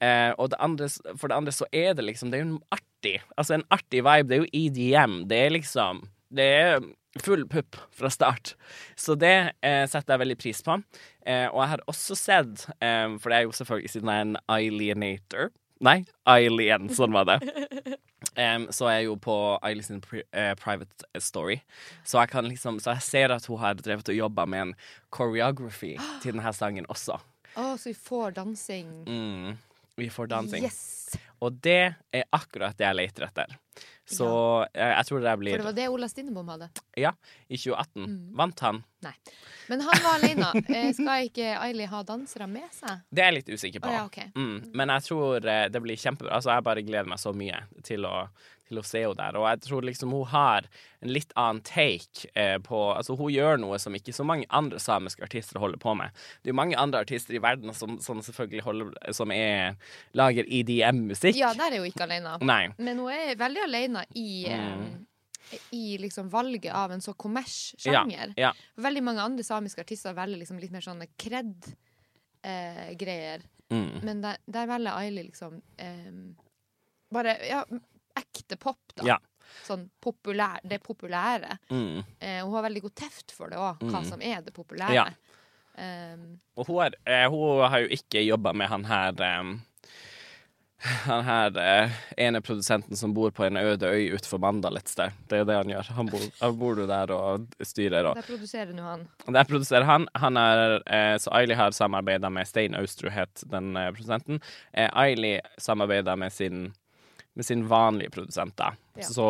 S1: Eh, og det andre, s- for det andre så er det liksom Det er jo en artig Altså en artig vibe. Det er jo EDM. Det er liksom Det er full pupp fra start. Så det eh, setter jeg veldig pris på. Eh, og jeg har også sett, eh, for det er jo selvfølgelig siden jeg er en alienator Nei, alien, sånn var det. Em, så er jeg jo på Eilish sin pri eh, private story. Så jeg kan liksom Så jeg ser at hun har drevet og jobba med en choreography til denne sangen også.
S2: Å, så vi får dansing.
S1: Mm. Vi får dansing.
S2: Yes!
S1: Og det er akkurat det jeg leter etter. Så eh, jeg tror det
S2: For
S1: blir
S2: det var Mm. det Ola Stinnebom hadde.
S1: Ja, i 2018 vant han.
S2: Nei. Men han var alene. Eh, Skal ikke Aili ha dansere med seg?
S1: Det er jeg litt usikker på.
S2: Å ja, ok.
S1: mm. Men jeg tror eh, det blir kjempebra. Altså, jeg bare gleder meg så mye til å, til å se henne der. Og jeg tror liksom hun har en litt annen take eh, på Altså, hun gjør noe som ikke så mange andre samiske artister holder på med. Det er jo mange andre artister i verden som, som selvfølgelig holder Som er, lager EDM-musikk.
S2: Ja, der er hun ikke alene.
S1: Nei.
S2: Men hun er veldig alene i,
S1: Mm.
S2: eh, i liksom valget av en så kommerssjanger.
S1: Ja.
S2: Veldig mange andre samiske artister velger liksom litt mer sånne kred-greier.
S1: Mm.
S2: Men der, der velger Aili liksom eh, bare ja, ekte pop, da.
S1: Ja.
S2: Sånn populær, det populære.
S1: Mm.
S2: Eh, hun har veldig god teft for det òg, hva som er det populære.
S1: Ja.
S2: Eh,
S1: Og hun, er, eh, hun har jo ikke jobba med han her eh, Han her eh, ene produsenten som bor på en øde øy utenfor Mandal et sted. Det er jo det han gjør. Han bor, han bor jo der og styrer og
S2: der produserer nå han.
S1: Der produserer han. han er, eh, så Aili har samarbeida med Stein Austru, het den eh, produsenten. Eh, Aili samarbeida med sin med sin vanlige produsent, da.
S2: Ja.
S1: Så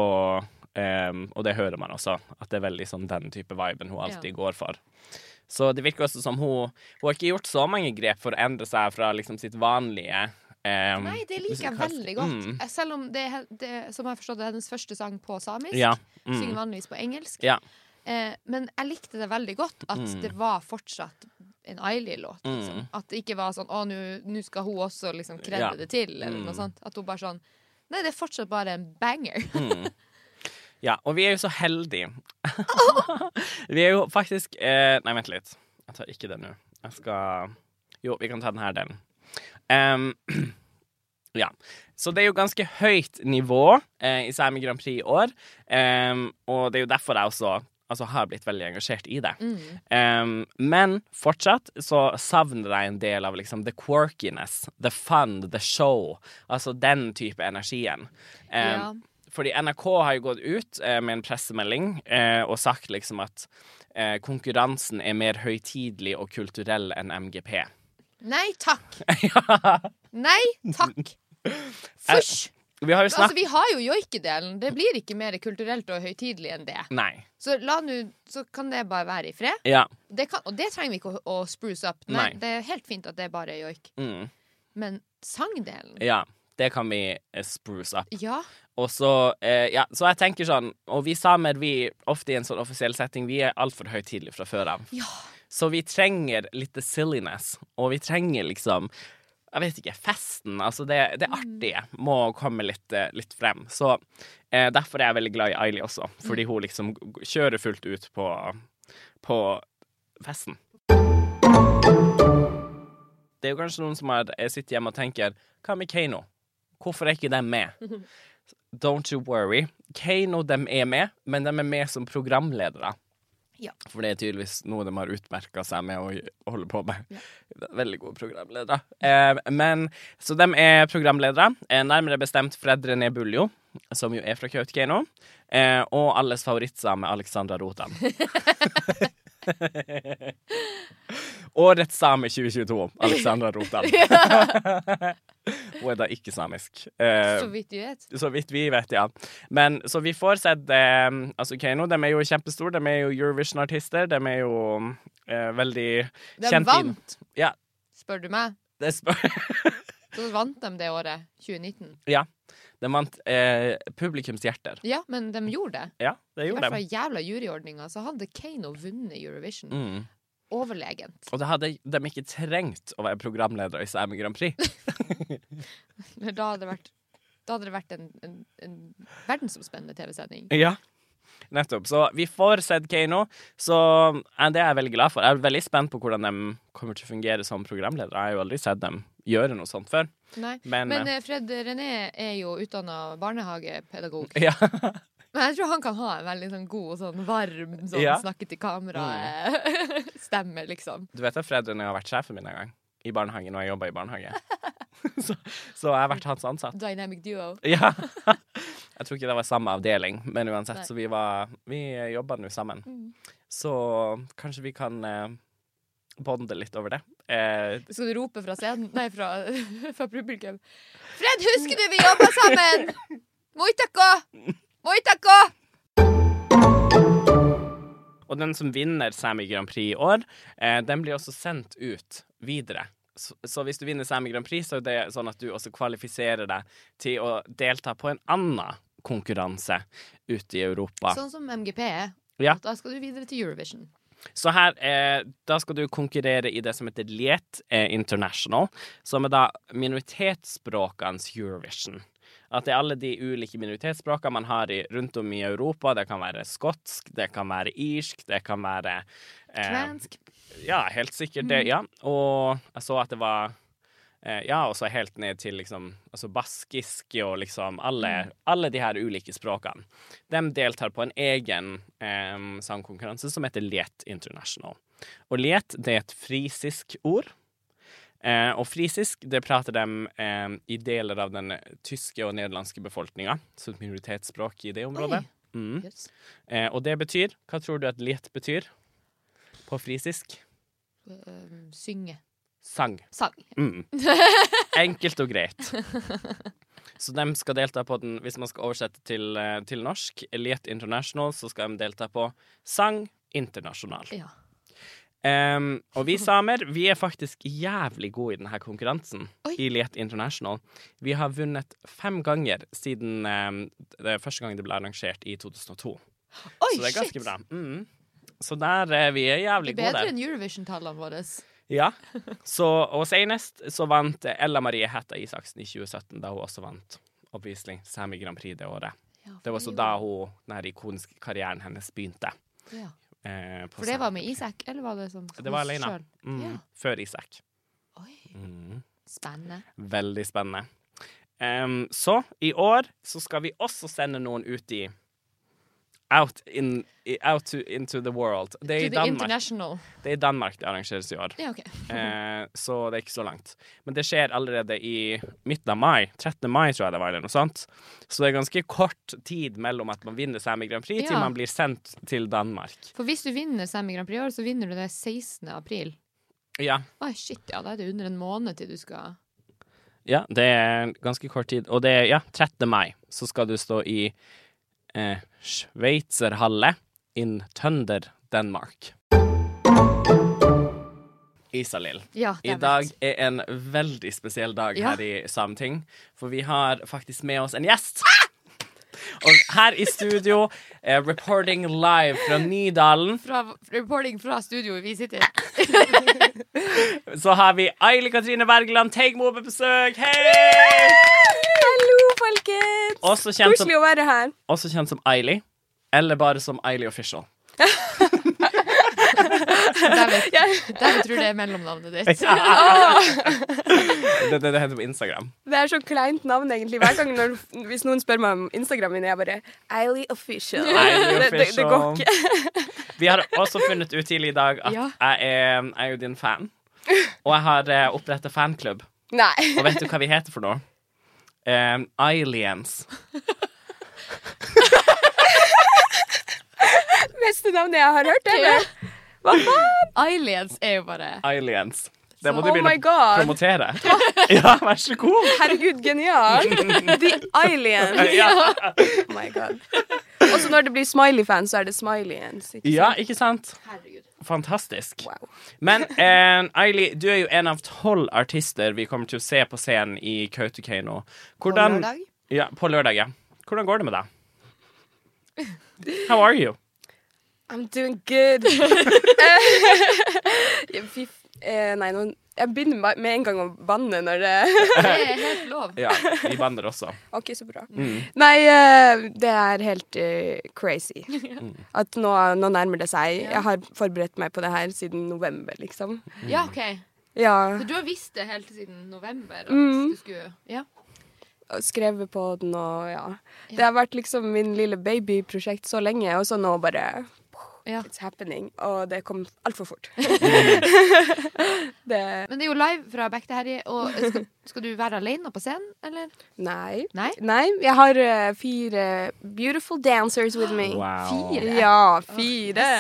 S1: ehm, Og det hører man også, at det er veldig sånn den type viben hun alltid
S2: Ja.
S1: går for. Så det virker også som hun Hun har ikke gjort så mange grep for å endre seg fra liksom sitt vanlige ehm,
S2: Nei, det liker jeg
S1: musikalske-
S2: veldig godt.
S1: Mm.
S2: Eh, Selv om det, er- det som jeg har forstått, det er hennes første sang på samisk.
S1: Ja. Mm.
S2: Synger vanligvis på engelsk.
S1: ja.
S2: Eh, men jeg likte det veldig godt at det var fortsatt en Ailey-låt. Liksom. At det ikke var sånn 'Å, nå- nå skal hun også liksom kredde
S1: Ja.
S2: det til', eller noe sånt. At hun bare sånn Nei, det er fortsatt bare en banger.
S1: Mm. Ja, og vi er jo så heldige. vi er jo faktisk eh, Nei, vent litt. Jeg tar ikke den nå. Jeg skal Jo, vi kan ta den her delen. Em, Ja. Så det er jo ganske høyt nivå eh, i Sami Grand Prix i år. Em, og det er jo derfor jeg også altså, har blitt veldig engasjert i det. Em, men fortsatt så savner jeg en del av liksom the quirkiness, the fun, the show. Altså den type energien. Em,
S2: Ja.
S1: Fordi NRK har jo gått ut eh, med en pressemelding eh, og sagt liksom at eh, konkurransen er mer høytidelig og kulturell enn MGP.
S2: Nei takk. Nei takk. Fysj.
S1: Vi har jo
S2: Altså,
S1: snakket
S2: vi har jo joikedelen. Det blir ikke mer kulturelt og høytidelig enn det.
S1: Nei.
S2: Så, la nu, så kan det bare være i fred.
S1: Ja.
S2: Det kan, og det trenger vi ikke å, å spruce opp. Nei,
S1: Nei.
S2: Det er helt fint at det bare er joik.
S1: Mm.
S2: Men sangdelen
S1: Ja, det kan vi eh, spruce up.
S2: Ja.
S1: Og så, eh, ja, så jeg tenker sånn Og vi samer, vi ofte i en sånn offisiell setting, vi er altfor høytidelige fra før av.
S2: ja.
S1: Så vi trenger litt silliness, og vi trenger liksom jeg vet ikke, festen, altså det, det artige må komme litt, eh, litt frem. Så eh, derfor er jeg veldig glad i Aili også, fordi hun liksom g- g- kjører fullt ut på, på festen. Det er jo kanskje noen som har eh, sitter hjemme og tenker, hva med Kano? Hvorfor er ikke de med? Don't you worry. Kano, de er med, men de er med som programledere. For det er tydeligvis noe de har utmerka seg med å gj- holde på med. Veldig gode programledere. Eh, men, så de er programledere. Eh, nærmere bestemt Fred René Buljo, som jo er fra Kautokeino. Eh, og alles favorittsame Alexandra Rotan. Årets same 2022, Alexandra Rotan. Hun er da ikke samisk. Eh,
S2: Så vidt vi vet.
S1: så vidt vi vet, ja. Men så vi får sett eh, Altså, Keiino, de er jo kjempestore. De er jo Eurovision-artister. De er jo eh, veldig
S2: De
S1: kjent inn-
S2: vant,
S1: Ja.
S2: spør du meg.
S1: Det spør
S2: Så vant de det året. 2019.
S1: Ja. De vant eh, publikums hjerter.
S2: Ja, men de gjorde det.
S1: Ja, det
S2: I hvert
S1: gjorde
S2: fall
S1: de.
S2: jævla juryordninga, så hadde Kano vunnet Eurovision.
S1: Mm.
S2: Overlegent.
S1: Og det hadde de ikke trengt å være programledere i Sæmi Grand Prix.
S2: Men Da hadde det vært, da hadde det vært en, en, en verdensomspennende TV-sending.
S1: Ja. Nettopp. Så vi får sett Keiino. Så eh, det er jeg veldig glad for. Jeg er veldig spent på hvordan de kommer til å fungere som programledere. Jeg har jo aldri sett dem gjøre noe sånt før.
S2: Nei.
S1: Men,
S2: Men
S1: eh,
S2: eh, Fred René er jo utdanna barnehagepedagog.
S1: ja.
S2: Men jeg tror han kan ha en veldig sånn god og sånn varm sånn
S1: Mm. Ja. Mm.
S2: snakke til kamera-stemme, liksom.
S1: Du vet at foreldrene har vært sjefen min en gang i barnehagen, og jeg jobba i barnehage. så, så jeg har vært hans ansatt.
S2: Dynamic duo.
S1: Ja. Jeg tror ikke det var samme avdeling, men uansett,
S2: Nei.
S1: så vi var Vi jobba nå sammen.
S2: Mm.
S1: Så kanskje vi kan eh, bonde litt over det. Eh,
S2: Skal du rope fra scenen? Nei, fra, fra publikum. Fred, husker du vi jobba sammen? Moitako! Moitako!
S1: og den som vinner Sami Grand Prix i år, eh, den blir også sendt ut videre. Så, så hvis du vinner Sami Grand Prix, så er det sånn at du også kvalifiserer deg til å delta på en annen konkurranse ute i Europa.
S2: Sånn som MGP er.
S1: Ja.
S2: Da skal du videre til Eurovision.
S1: Så her, eh, da skal du konkurrere i det som heter Liet eh, International, som er da minoritetsspråkenes Eurovision. At det er alle de ulike minoritetsspråkene man har i, rundt om i Europa. Det kan være skotsk, det kan være irsk, det kan være eh,
S2: Kvensk.
S1: Ja, helt sikkert det, ja. Og jeg så at det var eh, Ja, og så helt ned til liksom altså baskisk og liksom alle, alle de her ulike språkene. De deltar på en egen eh, sangkonkurranse som heter Liet International. Og Liet, det er et frisisk ord. Eh, og frisisk, det prater de eh, i deler av den tyske og nederlandske befolkninga. Så et minoritetsspråk i det området.
S2: Oi.
S1: Mm.
S2: Yes.
S1: Eh, og det betyr Hva tror du at liet betyr på frisisk?
S2: Um, synge.
S1: Sang.
S2: Sang.
S1: Mm. Enkelt og greit. Så de skal delta på den, hvis man skal oversette til, eh, til norsk, Liet International, så skal de delta på Sang Internasjonal.
S2: Ja.
S1: Em, og vi samer, vi er faktisk jævlig gode i denne konkurransen
S2: Oi.
S1: i Liet International. Vi har vunnet fem ganger siden em, det første gang det ble arrangert i 2002.
S2: Oi,
S1: Så det er ganske
S2: shit!
S1: bra. Mm. Så der er vi
S2: Det
S1: jævlig
S2: er
S1: gode
S2: bedre
S1: der.
S2: enn Eurovision-tallene våre.
S1: Ja. Så, og senest så vant Ella Marie Hætta Isaksen i 2017, da hun også vant oppvisning Sami Grand Prix det året.
S2: Ja,
S1: Det var også
S2: for det
S1: da
S2: gjorde-
S1: hun, den ikoniske karrieren hennes begynte.
S2: ja.
S1: eh, på
S2: For det
S1: scenen.
S2: var med Isak, eller var det som
S1: Det var
S2: hos
S1: alene.
S2: selv?
S1: Mm,
S2: Ja.
S1: Før Isak.
S2: Oi,
S1: Mm.
S2: spennende.
S1: Veldig spennende. Em, så i år så skal vi også sende noen ut i Out, in, i- out to, into the world. Det er,
S2: To
S1: i
S2: the
S1: Danmark.
S2: international.
S1: det er i Danmark det arrangeres i år.
S2: Ja, ok.
S1: Eh, så det er ikke så langt. Men det skjer allerede i midten av mai. 13. mai, tror jeg det var. eller noe sånt. Så det er ganske kort tid mellom at man vinner Sami Grand Prix til
S2: Ja.
S1: man blir sendt til Danmark.
S2: For hvis du vinner Semi Grand Prix i år, så vinner du det 16. april.
S1: Ja,
S2: Oi, shit, ja, da er det under en måned til du skal
S1: ja det er ganske kort tid. Og det er ja, 13. mai. Så skal du stå i eh, Sveitserhalle in Tønder, Danmark. Isalill.
S2: Ja,
S1: I
S2: dæven.
S1: dag er en veldig spesiell dag
S2: Ja.
S1: her i Sameting, for vi har faktisk med oss en gjest. Og her i studio, eh, reporting live fra Nydalen,
S2: Fra, reporting fra studioet vi sitter i.
S1: så har vi Aili Katrine Bergland Teigmo på besøk. Hei!
S3: Hallo, folkens!
S1: Også kjent som,
S3: Koselig å være her.
S1: også kjent som Aili, eller bare som Aili Official.
S2: Dæven, dæven tror det er mellomnavnet ditt.
S1: Det, det, det heter på Instagram.
S3: Det er så kleint navn, egentlig. Hver gang når, Hvis noen spør meg om Instagram min, jeg bare Eily Official.
S1: Aili
S3: Det, det, det går
S1: Official.
S3: ikke.
S1: Vi har også funnet ut tidlig i dag at
S2: Ja.
S1: jeg, er, jeg er jo din fan, og jeg har eh, opprettet fanklubb. Og
S3: Nei.
S1: vet du hva vi heter for noe? Um, aliens.
S3: Beste navnet jeg har hørt, er det. Hva faen?
S2: Aliens er jo bare
S1: Aliens. Det må
S2: Så-
S1: du
S3: Oh
S1: begynne
S3: my
S1: å
S3: god.
S1: promotere. Ja, vær så god.
S3: Herregud, genial. The Aliens.
S1: Ja,
S3: Oh my god. Også når det blir smiley-fans, så er det Smileyans. Ikke?
S1: ja ikke sant?
S2: Herregud.
S1: Fantastisk.
S3: Wow.
S1: Men eh, Aili, du er jo en av tolv artister vi kommer til å se på scenen i Kautokeino. Hvordan,
S2: lørdag?
S1: Ja, på lørdag, ja. Hvordan går det med deg? How are you?
S3: I'm doing good. Eh, Fy f... eh, Nei, nå Jeg begynner ba- med en gang å banne når det
S2: Det er helt lov.
S1: Ja, vi bander også.
S3: Ok, så bra.
S1: Mm.
S3: Nei, eh, det er helt eh, crazy.
S1: Mm.
S3: At nå, nå nærmer det seg. Jeg har forberedt meg på det her siden november, liksom.
S2: Ja, OK.
S3: Ja,
S2: For du har visst det helt siden november at
S3: Mm.
S2: du skulle Ja.
S3: og skrevet på den og ja. Det har vært liksom min lille babyprosjekt så lenge, og så nå bare
S2: ja.
S3: It's happening. Og det kom altfor fort. det
S2: Men det er jo live fra Back to Harry, og skal, skal du være alene på scenen, eller?
S3: Nei.
S2: Nei?
S3: Nei. Jeg har eh, fire beautiful dancers with me.
S1: Wow.
S2: Fire.
S3: Ja, fire.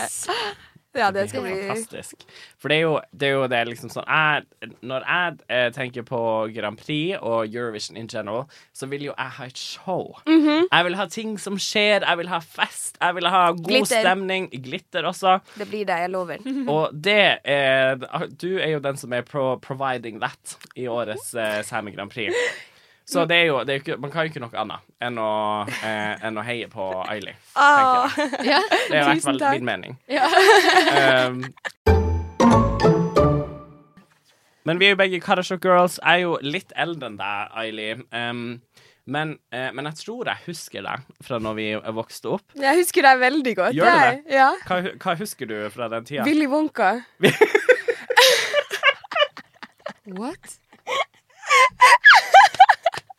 S3: Ja, det skal
S1: Det er
S3: bli
S1: Fantastisk. For det er jo det, er jo det liksom sånn jeg, Når jeg eh, tenker på Grand Prix og Eurovision in general, så vil jo jeg ha et show.
S3: Mhm.
S1: Jeg vil ha ting som skjer, jeg vil ha fest, jeg vil ha god
S3: Glitter. Mhm.
S1: stemning. Glitter også.
S3: Det blir det, jeg lover.
S1: Og det er Du er jo den som er pro providing that i årets eh, Sami Grand Prix. Så det er jo, det er jo ikke, man kan jo ikke noe annet enn å, eh, enn å heie på Ailey. tenker jeg.
S2: Ja.
S1: Det er i hvert
S3: Tusen
S1: fall
S3: takk.
S1: min mening.
S2: Ja.
S1: Um, men vi er jo begge Karasjok Girls. Jeg er jo litt eldre enn deg, Aili. Um, men, eh, men jeg tror jeg husker deg fra når vi vokste opp.
S3: Jeg husker deg veldig godt.
S1: Gjør du
S3: jeg. Ja.
S1: Hva, hu- hva husker du fra den tida?
S3: Willy Wonka.
S2: What?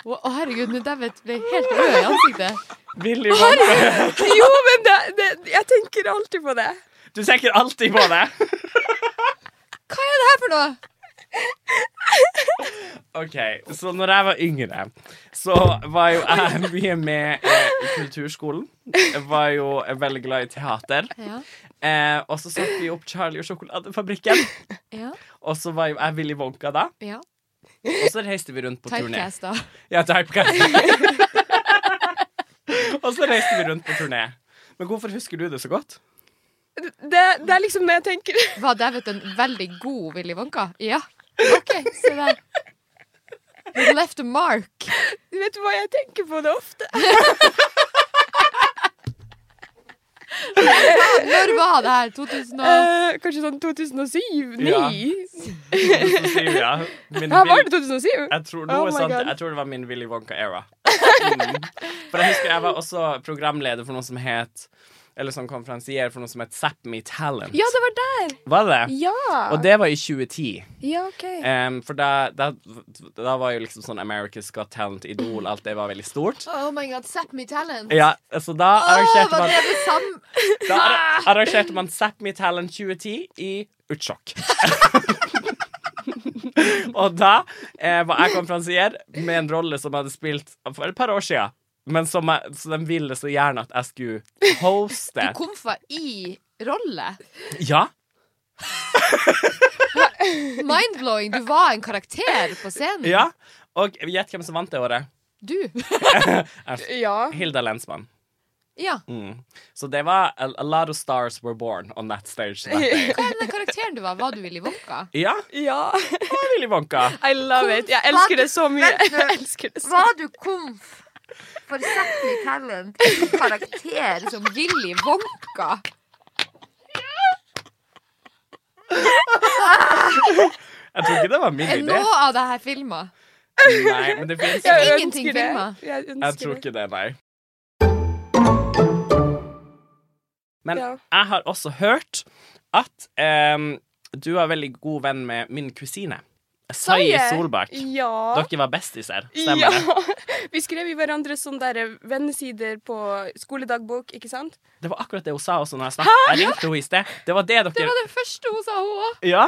S2: Å, å, herregud, nå dæven ble jeg helt rød i ansiktet.
S1: Willy Wonka.
S3: Jo, men det, det, jeg tenker alltid på det.
S1: Du tenker alltid på det.
S2: Hva er det her for noe?
S1: OK, så når jeg var yngre, så var jo jeg mye med eh, i kulturskolen. Jeg var jo eh, veldig glad i teater.
S2: Ja.
S1: Eh, og så satte vi opp Charlie og sjokoladefabrikken.
S2: Ja.
S1: Og så var jo jeg Willy Wonka da.
S2: ja.
S1: Og så reiste vi rundt på turné.
S2: Typecast, da.
S1: Ja, typecast. og så reiste vi rundt på turné. Men hvorfor husker du det så godt?
S3: Det, det er liksom det jeg tenker.
S2: Var David en veldig god Willy Wonka? Ja. OK, se der. You left a mark.
S3: Vet du hva, jeg tenker på det ofte.
S2: Når var det her? 2000 og
S3: Eh, kanskje sånn 2007? 2009?
S1: Ja.
S3: Ja.
S1: Ja, min,
S3: var
S1: Willy-
S3: det 2007?
S1: jeg tror, noe
S3: Oh my
S1: sånt,
S3: God.
S1: jeg tror det var min Willy Wonka-era. Mm. For jeg husker jeg var også programleder for noe som het Eller som konferansier for noe som het Zap Me Talent.
S3: Ja, det var der!
S1: Var det?
S3: Ja.
S1: Og det var i 2010.
S3: ja, OK.
S1: Em, for da, da, da var jo liksom sånn America's Got Talent, Idol, alt det var veldig stort.
S2: Oh my god, Zap Me Talent!
S1: Ja, så da
S2: Åh,
S1: arrangerte
S2: var
S1: man
S2: det det samme?
S1: Da ar- arrangerte man Zap Me Talent 2010 i Utsjokk. og da eh, var jeg konferansier med en rolle som jeg hadde spilt for et par år siden. Men som jeg, så de ville så gjerne at jeg skulle hoste.
S2: Komfa i rolle.
S1: Ja,
S2: Mindblowing. Du var en karakter på scenen.
S1: ja. Og gjett hvem som vant det året?
S2: Du.
S3: Ja.
S1: Hilda Lensmann.
S2: Ja.
S1: Mm. Så det var a, a lot of stars were born on that stage. That day.
S2: Hva er den karakteren du var? Var du Willy Wonka?
S1: Ja,
S3: Ja.
S1: det var Willy Wonka.
S3: I love it. Jeg elsker det så mye. Jeg elsker det så
S2: Var du komf for Zap Me Talent? En karakter som Willy Wonka?
S1: Jeg tror ikke det var min
S2: Er
S1: idé.
S2: noe av det her filma?
S1: Nei, men det finnes jo
S2: Ja, ja.
S3: Jeg
S2: Ingenting
S3: ønsker det.
S2: filmet.
S3: Jeg ønsker
S1: Jeg tror
S3: det.
S1: ikke det, nei. Men
S3: Ja.
S1: jeg har også hørt at em, du er veldig god venn med min kusine. Sai
S3: Saie.
S1: Solbakk.
S3: Ja.
S1: Dere var bestiser,
S3: ja.
S1: stemmer det?
S3: Vi skrev i hverandres sånne der vennesider på skoledagbok, ikke sant?
S1: Det var akkurat det hun sa også når jeg snakket. Jeg ringte henne i sted. Det var det dere
S2: Det var det første hun sa, hun òg.
S1: Ja.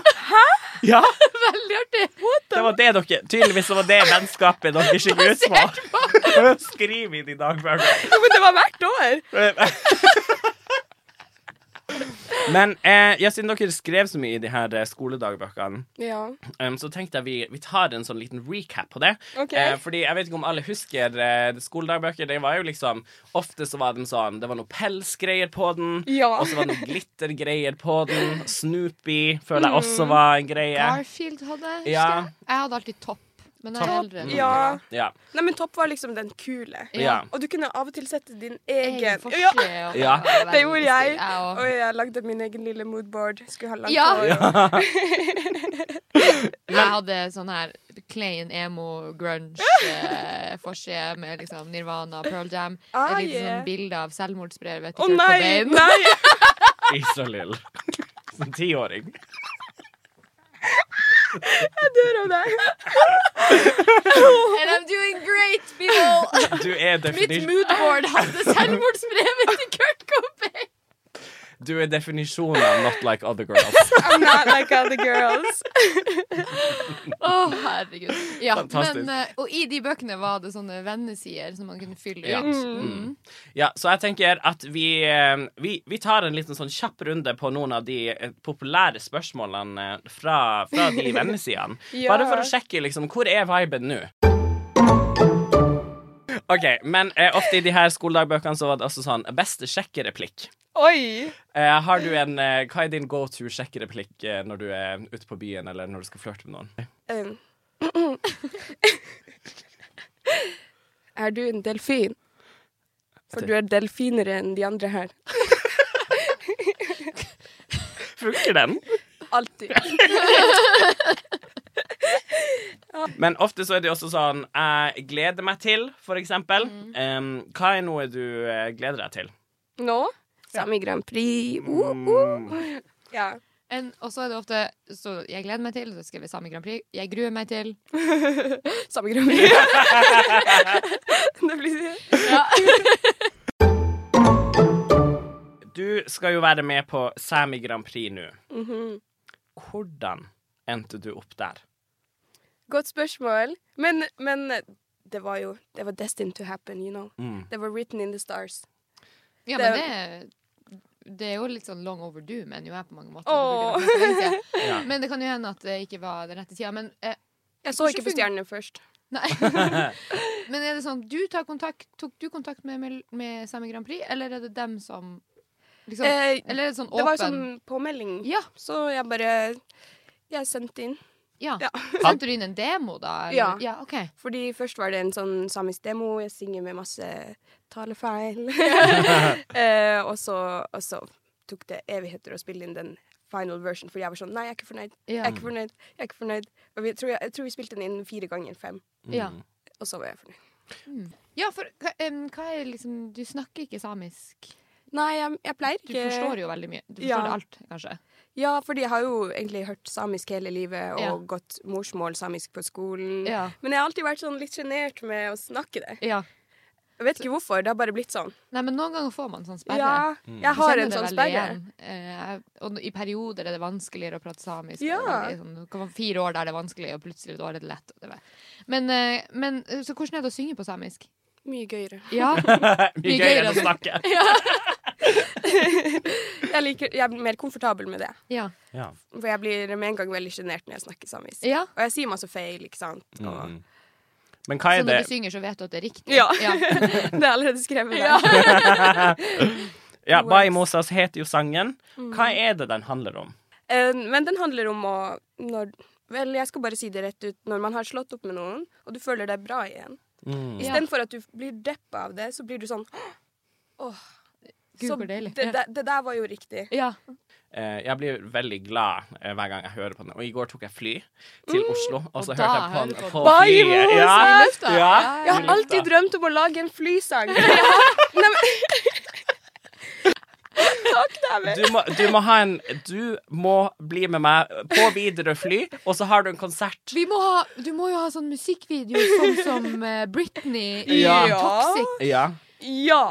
S1: ja.
S2: Veldig artig.
S1: Det var det dere Tydeligvis så var det vennskapet dere gikk ut på. Skriv inn i dagbøkene.
S3: Jo, men det var hvert år!
S1: Men eh, ja, siden dere skrev så mye i de her eh, skoledagbøkene
S3: Ja.
S1: Um, så tenkte jeg vi, vi tar en sånn liten recap på det.
S3: Ok.
S1: Eh, fordi jeg vet ikke om alle husker eh, skoledagbøker. Det var jo liksom Ofte så var de sånn Det var noe pelsgreier på den.
S3: Ja.
S1: Og så var det noe glittergreier på den. Snoopy føler jeg også var en greie.
S2: Garfield hadde husker
S1: Ja.
S2: jeg. Jeg hadde alltid topp, men jeg er
S3: Topp,
S2: eldre. enn
S3: ja.
S2: dere.
S1: Ja.
S3: Nei, men Topp var liksom den kule.
S1: ja.
S3: Og du kunne av og til sette din
S2: Egen
S3: egen
S2: forside,
S3: Ja,
S2: og-
S1: Ja.
S2: og-
S3: det gjorde jeg.
S2: og-
S3: Og jeg lagde min egen lille moodboard. Skulle ha langt
S2: Ja.
S3: hår.
S2: Ja.
S3: og-
S2: Jeg hadde sånn her Klein emo grunge eh, forside med liksom Nirvana, Pearl Jam.
S3: Ah,
S2: et lite
S3: yeah.
S2: sånn bilde av selvmordsbrevet
S3: Å
S2: til Kurt
S3: nei!
S2: Cobain.
S3: nei.
S1: Isalill. Som tiåring.
S3: Jeg dør av deg.
S2: And I'm doing great, people!
S1: Du er,
S2: Mitt
S1: defini
S2: moodboard hadde selvmordsbrevet til Kurt Cobain.
S1: du er definisjonen av not like other girls.
S3: I'm not like other girls.
S2: Å, herregud. Ja,
S1: Fantastisk.
S2: men, eh, og i de bøkene var det sånne vennesider som man kunne fylle
S1: Ja.
S2: ut. Mm.
S1: Ja, så jeg tenker at vi, eh, vi, vi tar en liten sånn kjapp runde på noen av de eh, populære spørsmålene eh, fra, fra de vennesidene.
S3: Ja.
S1: Bare for å sjekke liksom, hvor er viben nå? OK, men eh, ofte i de her skoledagbøkene så var det altså sånn Beste sjekkereplikk.
S3: Oi.
S1: Eh, har du en, eh, hva er din go to sjekkereplikk eh, når du er ute på byen eller når du skal flørte med noen?
S3: Um. Er du en delfin? For du er delfinere enn de andre her.
S1: Funker den?
S3: Alltid.
S1: Men ofte så er det også sånn Jeg gleder meg til, for eksempel.
S2: Mm.
S1: Eh, hva er noe du eh, gleder deg til?
S3: Nå? Sami Grand Prix. Uh,
S1: Mm.
S3: uh. Ja.
S2: En, og så er det ofte så jeg gleder meg til, så skriver jeg samme Grand Prix. Jeg gruer meg til.
S3: Sami Grand Prix. det blir det.
S1: Du skal jo være med på Sami Grand Prix nå.
S2: Mhm.
S1: Hvordan endte du opp der?
S3: Godt spørsmål. Men, men det var jo Det var destined to happen, you know. Det var written in the stars.
S2: Ja,
S3: Det-
S2: men det, det er jo litt sånn long overdue, men jo jeg på mange måter.
S3: Åh.
S2: Det burde vært for lenge
S1: Ja.
S2: siden. Men det kan jo hende at det ikke var den rette tida. Men, eh,
S3: Jeg så ikke på stjernene først.
S2: nei. men er det sånn du tar kontakt, tok du kontakt med, med, med Sami Grand Prix, eller er det dem som liksom,
S3: Eh,
S2: Eller er det sånn
S3: Det var
S2: åpen
S3: sånn påmelding.
S2: Ja.
S3: Så jeg bare Jeg sendte inn.
S2: ja.
S3: Ja.
S2: Sendte du inn en demo, da? eller?
S3: Ja.
S2: ja OK.
S3: Fordi først var det en sånn samisk demo. Jeg synger med masse talefeil. eh, og, så, og så tok det evigheter å spille inn den final version, fordi jeg var sånn Nei, jeg er ikke fornøyd.
S2: Ja.
S3: Jeg er ikke fornøyd. Jeg er ikke fornøyd. Og vi, tror jeg, jeg tror vi spilte den inn fire ganger fem,
S2: Ja.
S3: og så var jeg fornøyd.
S2: Ja, for hva, em, hva er liksom Du snakker ikke samisk?
S3: Nei, jeg, jeg pleier
S2: Du
S3: ikke
S2: forstår jo veldig mye. Du forstår
S3: Ja.
S2: alt, kanskje.
S3: Ja, fordi jeg har jo egentlig hørt samisk hele livet og
S2: Ja.
S3: gått morsmål samisk på skolen.
S2: Ja.
S3: Men jeg har alltid vært sånn litt sjenert med å snakke det.
S2: Ja.
S3: Jeg vet ikke hvorfor. Det har bare blitt sånn.
S2: Nei, men noen ganger får man sånn sperre.
S3: Ja, jeg
S2: Jeg
S3: har
S2: kjenner
S3: en
S2: det
S3: sånn
S2: veldig
S3: sperre.
S2: igjen. Eh, og i perioder er det vanskeligere å prate samisk.
S3: Ja.
S2: Det er veldig sånn, det kan være fire år der det er vanskelig, og plutselig et år er det lett. og Det er bare- men, eh, men eh, så hvordan er det å synge på samisk?
S3: Mye gøyere.
S2: Ja,
S1: Mye gøyere enn å snakke.
S3: Jeg, liker, jeg blir mer komfortabel med det.
S2: ja,
S1: Ja.
S3: For jeg blir med en gang veldig sjenert når jeg snakker samisk.
S2: ja.
S3: Og jeg sier masse feil, ikke sant. Og
S1: Mm. Men hva
S2: Så
S1: er det
S2: når du synger, så vet du at det er riktig?
S3: Ja.
S2: ja.
S3: Det er allerede skrevet der.
S1: Ja, Bai Mosas heter jo sangen.
S2: Mm.
S1: Hva er det den handler om?
S3: Eh, Men den handler om å når, Vel, jeg skal bare si det rett ut. Når man har slått opp med noen, og du føler deg bra igjen.
S1: Mm.
S2: Ja.
S3: Istedenfor at du blir deppa av det, så blir du sånn Åh.
S2: Gud,
S3: så
S2: hvor deilig.
S3: Det, det, det der var jo riktig.
S2: ja.
S1: Eh, jeg blir veldig glad eh, hver gang jeg hører på den. Og i går tok jeg fly til Oslo, og så
S2: Mm. Og
S1: hørte
S2: da
S1: jeg på
S2: hører
S1: den
S2: du på
S1: på
S3: den. Bai
S1: flyet.
S3: Mosa!
S1: Ja,
S2: I lufta.
S1: ja,
S2: Ja,
S1: i
S3: Jeg har
S1: lufta.
S3: alltid drømt om å lage en flysang. Jeg har- Nei, men- Takk, dæven.
S1: Du må, du må ha en Du må bli med meg på videre fly, og så har du en konsert.
S2: Vi må ha, du må jo ha sånn musikkvideo sånn som eh, Britney i
S1: Ja.
S2: Toxic.
S1: Ja.
S3: Ja.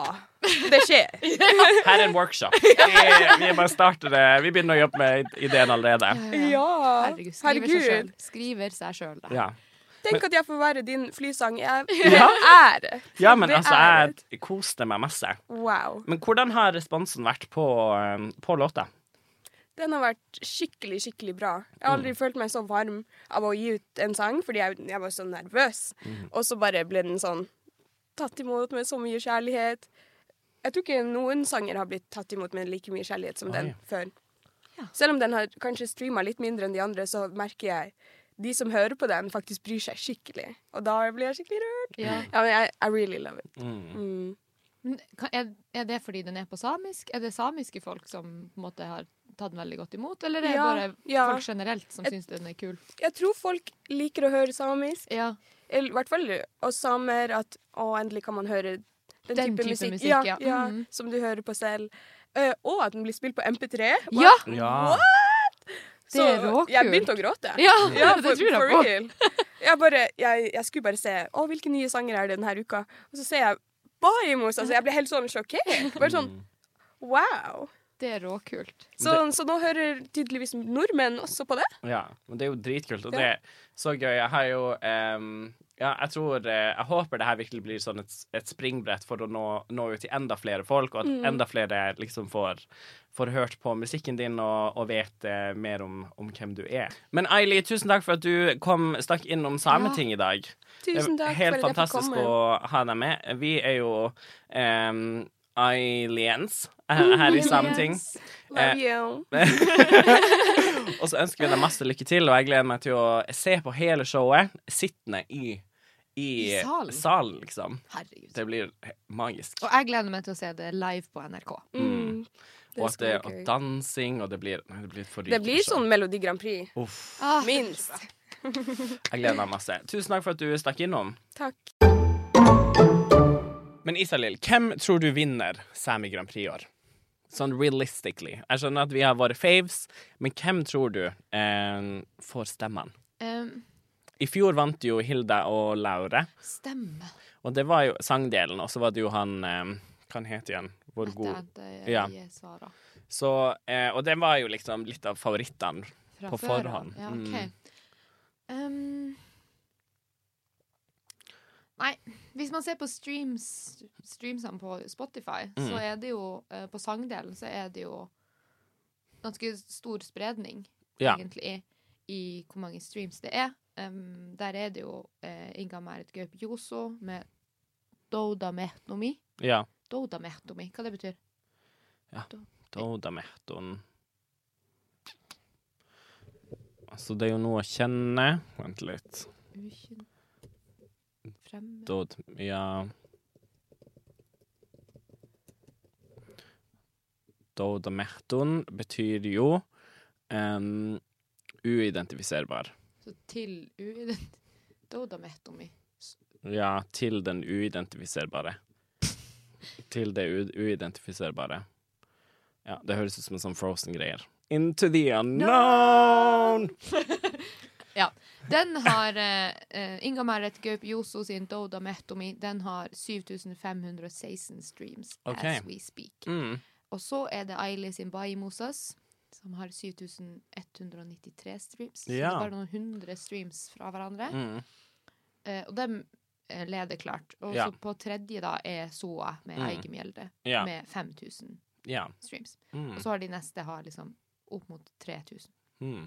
S3: Det skjer.
S1: Her er en workshop. Vi, vi bare starter det. Vi begynner å jobbe med ideen allerede.
S3: Ja.
S2: Herregud. Skriver seg
S3: Herregud.
S2: sjøl. Skriver seg sjøl, da.
S1: Ja.
S3: Tenk at jeg får være din flysang. Jeg
S1: Ja.
S3: er det.
S1: ja, men
S3: Det
S1: altså,
S3: er det.
S1: jeg koste meg masse.
S3: Wow.
S1: Men hvordan har responsen vært på, eh, på låta?
S3: Den har vært skikkelig, skikkelig bra. Jeg har aldri følt meg så varm av å gi ut en sang, fordi jeg, jeg var så nervøs. Og så bare ble den sånn tatt imot med så mye kjærlighet. Jeg tror ikke noen sanger har blitt tatt imot med like mye kjærlighet som den
S1: Oi.
S3: før.
S2: Ja.
S3: Selv om den har kanskje streama litt mindre enn de andre, så merker jeg de som hører på den, faktisk bryr seg skikkelig. Og da blir jeg skikkelig rørt.
S2: Ja.
S3: Ja, men jeg, I really love it.
S1: Mm.
S3: Mm.
S2: Men kan- Er, er det fordi den er på samisk? Er det samiske folk som på en måte har tatt den veldig godt imot, eller er det
S3: Ja,
S2: bare
S3: ja.
S2: folk generelt som syns den er kul?
S3: Jeg tror folk liker å høre samisk.
S2: Ja.
S3: Eller, I hvert fall oss samer, at å, endelig kan man høre den,
S2: Den
S3: type,
S2: type
S3: musikk,
S2: musikk,
S3: ja,
S2: ja.
S3: ja,
S2: Mhm.
S3: som du hører på selv. Eh, og at den blir spilt på MP3. What?
S1: Ja.
S2: Ja! Det er råkult.
S3: Jeg begynte å gråte.
S2: ja,
S3: Ja,
S2: det
S3: for,
S2: tror
S3: for
S2: jeg på.
S3: real. Jeg, bare, jeg, jeg skulle bare se å, hvilke nye sanger er det denne uka. Og så ser jeg Baimos. Altså, jeg ble helt sånn sjokkert. Bare
S1: Mm.
S3: sånn wow.
S2: Det er råkult.
S3: Så, så nå hører tydeligvis nordmenn også på det.
S1: Ja, men det er jo dritkult, og
S3: Ja.
S1: det er så gøy. Jeg har jo ehm, ja, jeg tror eh, Jeg håper det her virkelig blir sånn et, et springbrett for å nå, nå ut til enda flere folk, og at
S3: Mm.
S1: enda flere liksom får, får hørt på musikken din og, og vet eh, mer om, om hvem du er. Men Aili, tusen takk for at du kom, stakk innom Sametinget i dag.
S3: Tusen takk
S1: Helt
S3: for at jeg fikk
S1: fantastisk
S3: komme.
S1: å ha deg med. Vi er jo ehm, aliens eh, her i Sameting. eh,
S3: Love you.
S1: Og så ønsker vi deg masse lykke til, og jeg gleder meg til å se på hele showet sittende i, i,
S2: I salen.
S1: salen, liksom.
S2: Herregud.
S1: Det blir he- magisk.
S2: Og jeg gleder meg til å se det live på NRK.
S3: Mm.
S1: og at
S3: skal
S1: det
S3: bli
S1: og
S3: gøy.
S1: dansing, og det blir Nei, det blir et forrykende
S3: Det blir
S1: show.
S3: sånn Melodi Grand Prix.
S1: Uff.
S2: Ah,
S3: Minst.
S1: Jeg gleder meg masse. Tusen takk for at du stakk innom.
S3: Takk.
S1: Men Isalill, hvem tror du vinner Sami Grand Prix i år? Sånn realistically. Jeg skjønner at vi har våre faves, men hvem tror du eh, får stemmene?
S2: em,
S1: I fjor vant jo Hilda og Laure.
S2: stemme.
S1: Og det var jo sangdelen, og så var det jo han eh, Hva han het igjen? Vår
S2: Dette
S1: god.
S2: er det jeg
S1: Ja.
S2: jeg svarer.
S1: Så, eh, og det var jo liksom litt av favorittene.
S2: Fra
S1: På
S2: før av.
S1: forhånd.
S2: Ja,
S1: Mm.
S2: ok. Em, nei, hvis man ser på streams, streamsene på Spotify, så
S1: Mm.
S2: er det jo eh, På sangdelen så er det jo ganske stor spredning,
S1: Ja.
S2: egentlig, i hvor mange streams det er. Em, der er det jo eh, Inga Merit Gaup Joso med Doda Mehtomi.
S1: Ja.
S2: Doda Mehtomi, hva det betyr?
S1: Doda Mehton. Altså, det er jo noe å kjenne. Vent litt.
S2: Ukjent
S1: Mm.
S2: Fremmed
S1: Dod Ja. Doda Mehton betyr jo em, uidentifiserbar.
S2: Så til uident... Doda Mehtomi.
S1: Ja, til den uidentifiserbare. Til det u uidentifiserbare. Ja, det høres ut som en sånn Frozen-greier. Into the unknown!
S2: Ja. Den har eh, eh, Inga Marit Gaup Joso sin Doda Metomi. Den har 7516 streams
S1: Ok.
S2: as we speak.
S1: Mm.
S2: Og så er det Aili sin Baimosas, som har 7193 streams. Så det
S1: Ja.
S2: er bare noen hundre streams fra hverandre.
S1: Mm.
S2: Eh, og dem eh, leder klart. Og
S1: Ja.
S2: så på tredje da er Soa med
S1: Mm.
S2: Eigemjelde
S1: Ja.
S2: med 5000
S1: ja.
S2: streams.
S1: Mm.
S2: Og så har de neste har liksom opp mot 3000.
S1: Mm.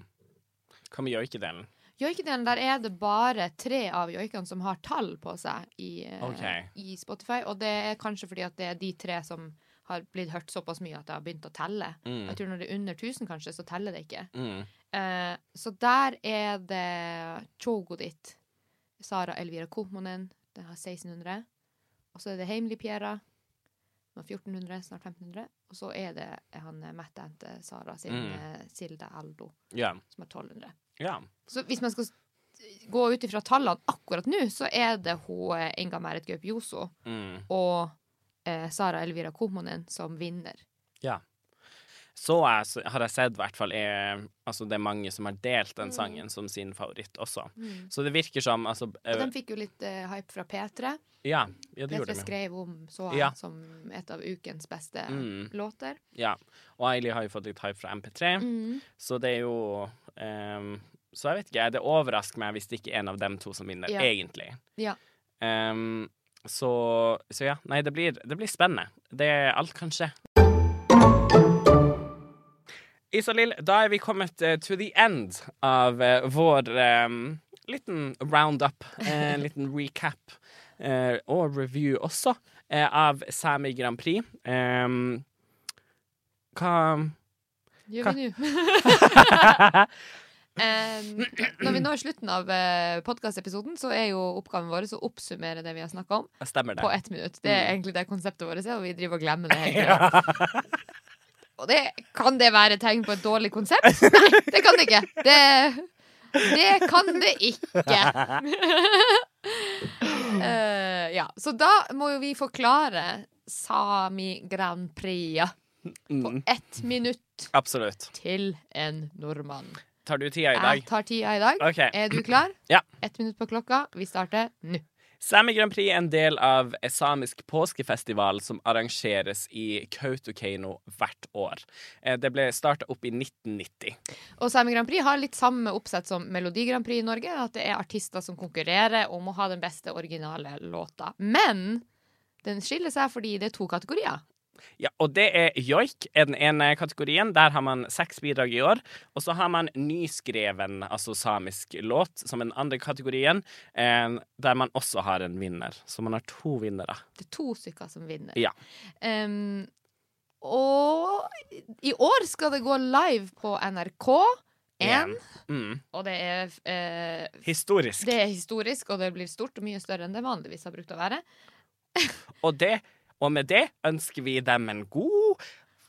S1: Hva med joikedelen?
S2: Joikedelen, der er det bare tre av joikene som har tall på seg i, eh,
S1: Ok.
S2: i Spotify. Og det er kanskje fordi at det er de tre som har blitt hørt såpass mye at det har begynt å telle.
S1: Mm.
S2: Jeg tror når det er under 1000, kanskje, så teller det ikke.
S1: Mm.
S2: Eh, så der er det Chogodit, Sara Elvira Kohmonen, den har 1600. Og så er det Heimli Piera, den har 1400, snart 1500. Og så er det han eh, Mette-hente Sara sin
S1: Mm.
S2: eh, Silde Aldo,
S1: Ja.
S2: som har 1200.
S1: ja.
S2: Så hvis man skal s- gå ut ifra tallene akkurat nå, så er det hun eh, Inga Merit Gaup Joso
S1: Mm.
S2: og eh, Sara Elvira Kohmonen som vinner.
S1: Ja. Så jeg, s- har jeg sett i hvert fall er, altså det er mange som har delt den sangen som sin favoritt også. Så det virker som altså, eh,
S2: Mm. Og den fikk jo litt eh, hype fra P3.
S1: ja, ja, det gjorde
S2: Petra
S1: de. jo.
S2: skrev om så
S1: Ja.
S2: som et av ukens beste
S1: Mm.
S2: låter.
S1: Ja. Og Eili har jo fått litt hype fra MP3,
S2: Mm.
S1: så det er jo ehm, Så jeg vet ikke, det overrasker meg hvis det ikke er en av dem to som vinner,
S2: Ja.
S1: egentlig.
S2: Ja.
S1: Ehm, så, så ja. Nei, det blir, det blir spennende. Det Alt kan skje. Isalill, da er vi kommet eh, to the end av eh, vår em, liten roundup, eh, en liten recap eh, og review også eh, av Sami Grand Prix. Em, hva
S2: Gjør vi nå? Em, når vi når slutten av uh, podkastepisoden, så er jo oppgaven vår å oppsummere det vi har snakka om,
S1: Stemmer det?
S2: på ett minutt. Det
S1: Mm.
S2: er egentlig det konseptet vårt er, og vi driver og glemmer det hele tida. Og det, kan det være et tegn på et dårlig konsept? Nei, det kan det ikke. Det, det kan det ikke. Eh, ja, så da må jo vi forklare Sami Grand Prix på
S1: Mm,
S2: ett minutt
S1: absolutt.
S2: til en nordmann.
S1: Tar du tida i
S2: Jeg
S1: dag?
S2: tar tida i dag.
S1: OK.
S2: Er du klar?
S1: Ja.
S2: Ett minutt på klokka. Vi starter nå.
S1: Sámi Grand Prix er en del av en samisk påskefestival som arrangeres i Kautokeino hvert år. Eh, Det ble starta opp i 1990.
S2: Og Sami Grand Prix har litt samme oppsett som Melodi Grand Prix i Norge. At det er artister som konkurrerer om å ha den beste originale låta. Men den skiller seg fordi det er to kategorier.
S1: Ja, og det er joik, er den ene kategorien. Der har man seks bidrag i år. Og så har man nyskreven, altså samisk låt, som er den andre kategorien, eh, der man også har en vinner. Så man har to vinnere.
S2: Det er to stykker som vinner.
S1: Ja.
S2: Em, og i år skal det gå live på NRK1.
S1: Mm.
S2: Og det er, eh,
S1: Historisk.
S2: det er historisk, og det blir stort og mye større enn det vanligvis har brukt å være.
S1: Og, det, og med det ønsker vi dem en god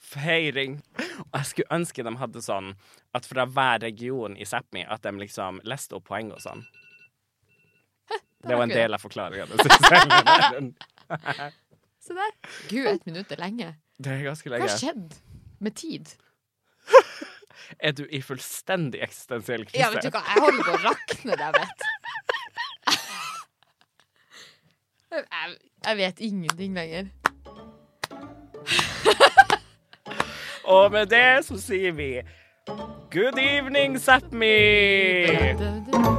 S1: feiring. Og jeg skulle ønske de hadde sånn at fra hver region i Sápmi at de liksom leste opp poeng og sånn. Det var en del av forklaringa.
S2: Se der. Gud, ett minutt er lenge.
S1: Det er ganske
S2: Hva har
S1: lenge.
S2: skjedd med tid?
S1: Er du i fullstendig eksistensiell krise?
S2: Ja, vet du hva, jeg holder på å rakne der, vet Jeg- jeg, jeg vet ingenting lenger.
S1: Og med det så sier vi good evening, Sápmi!
S2: Dun, dun, dun.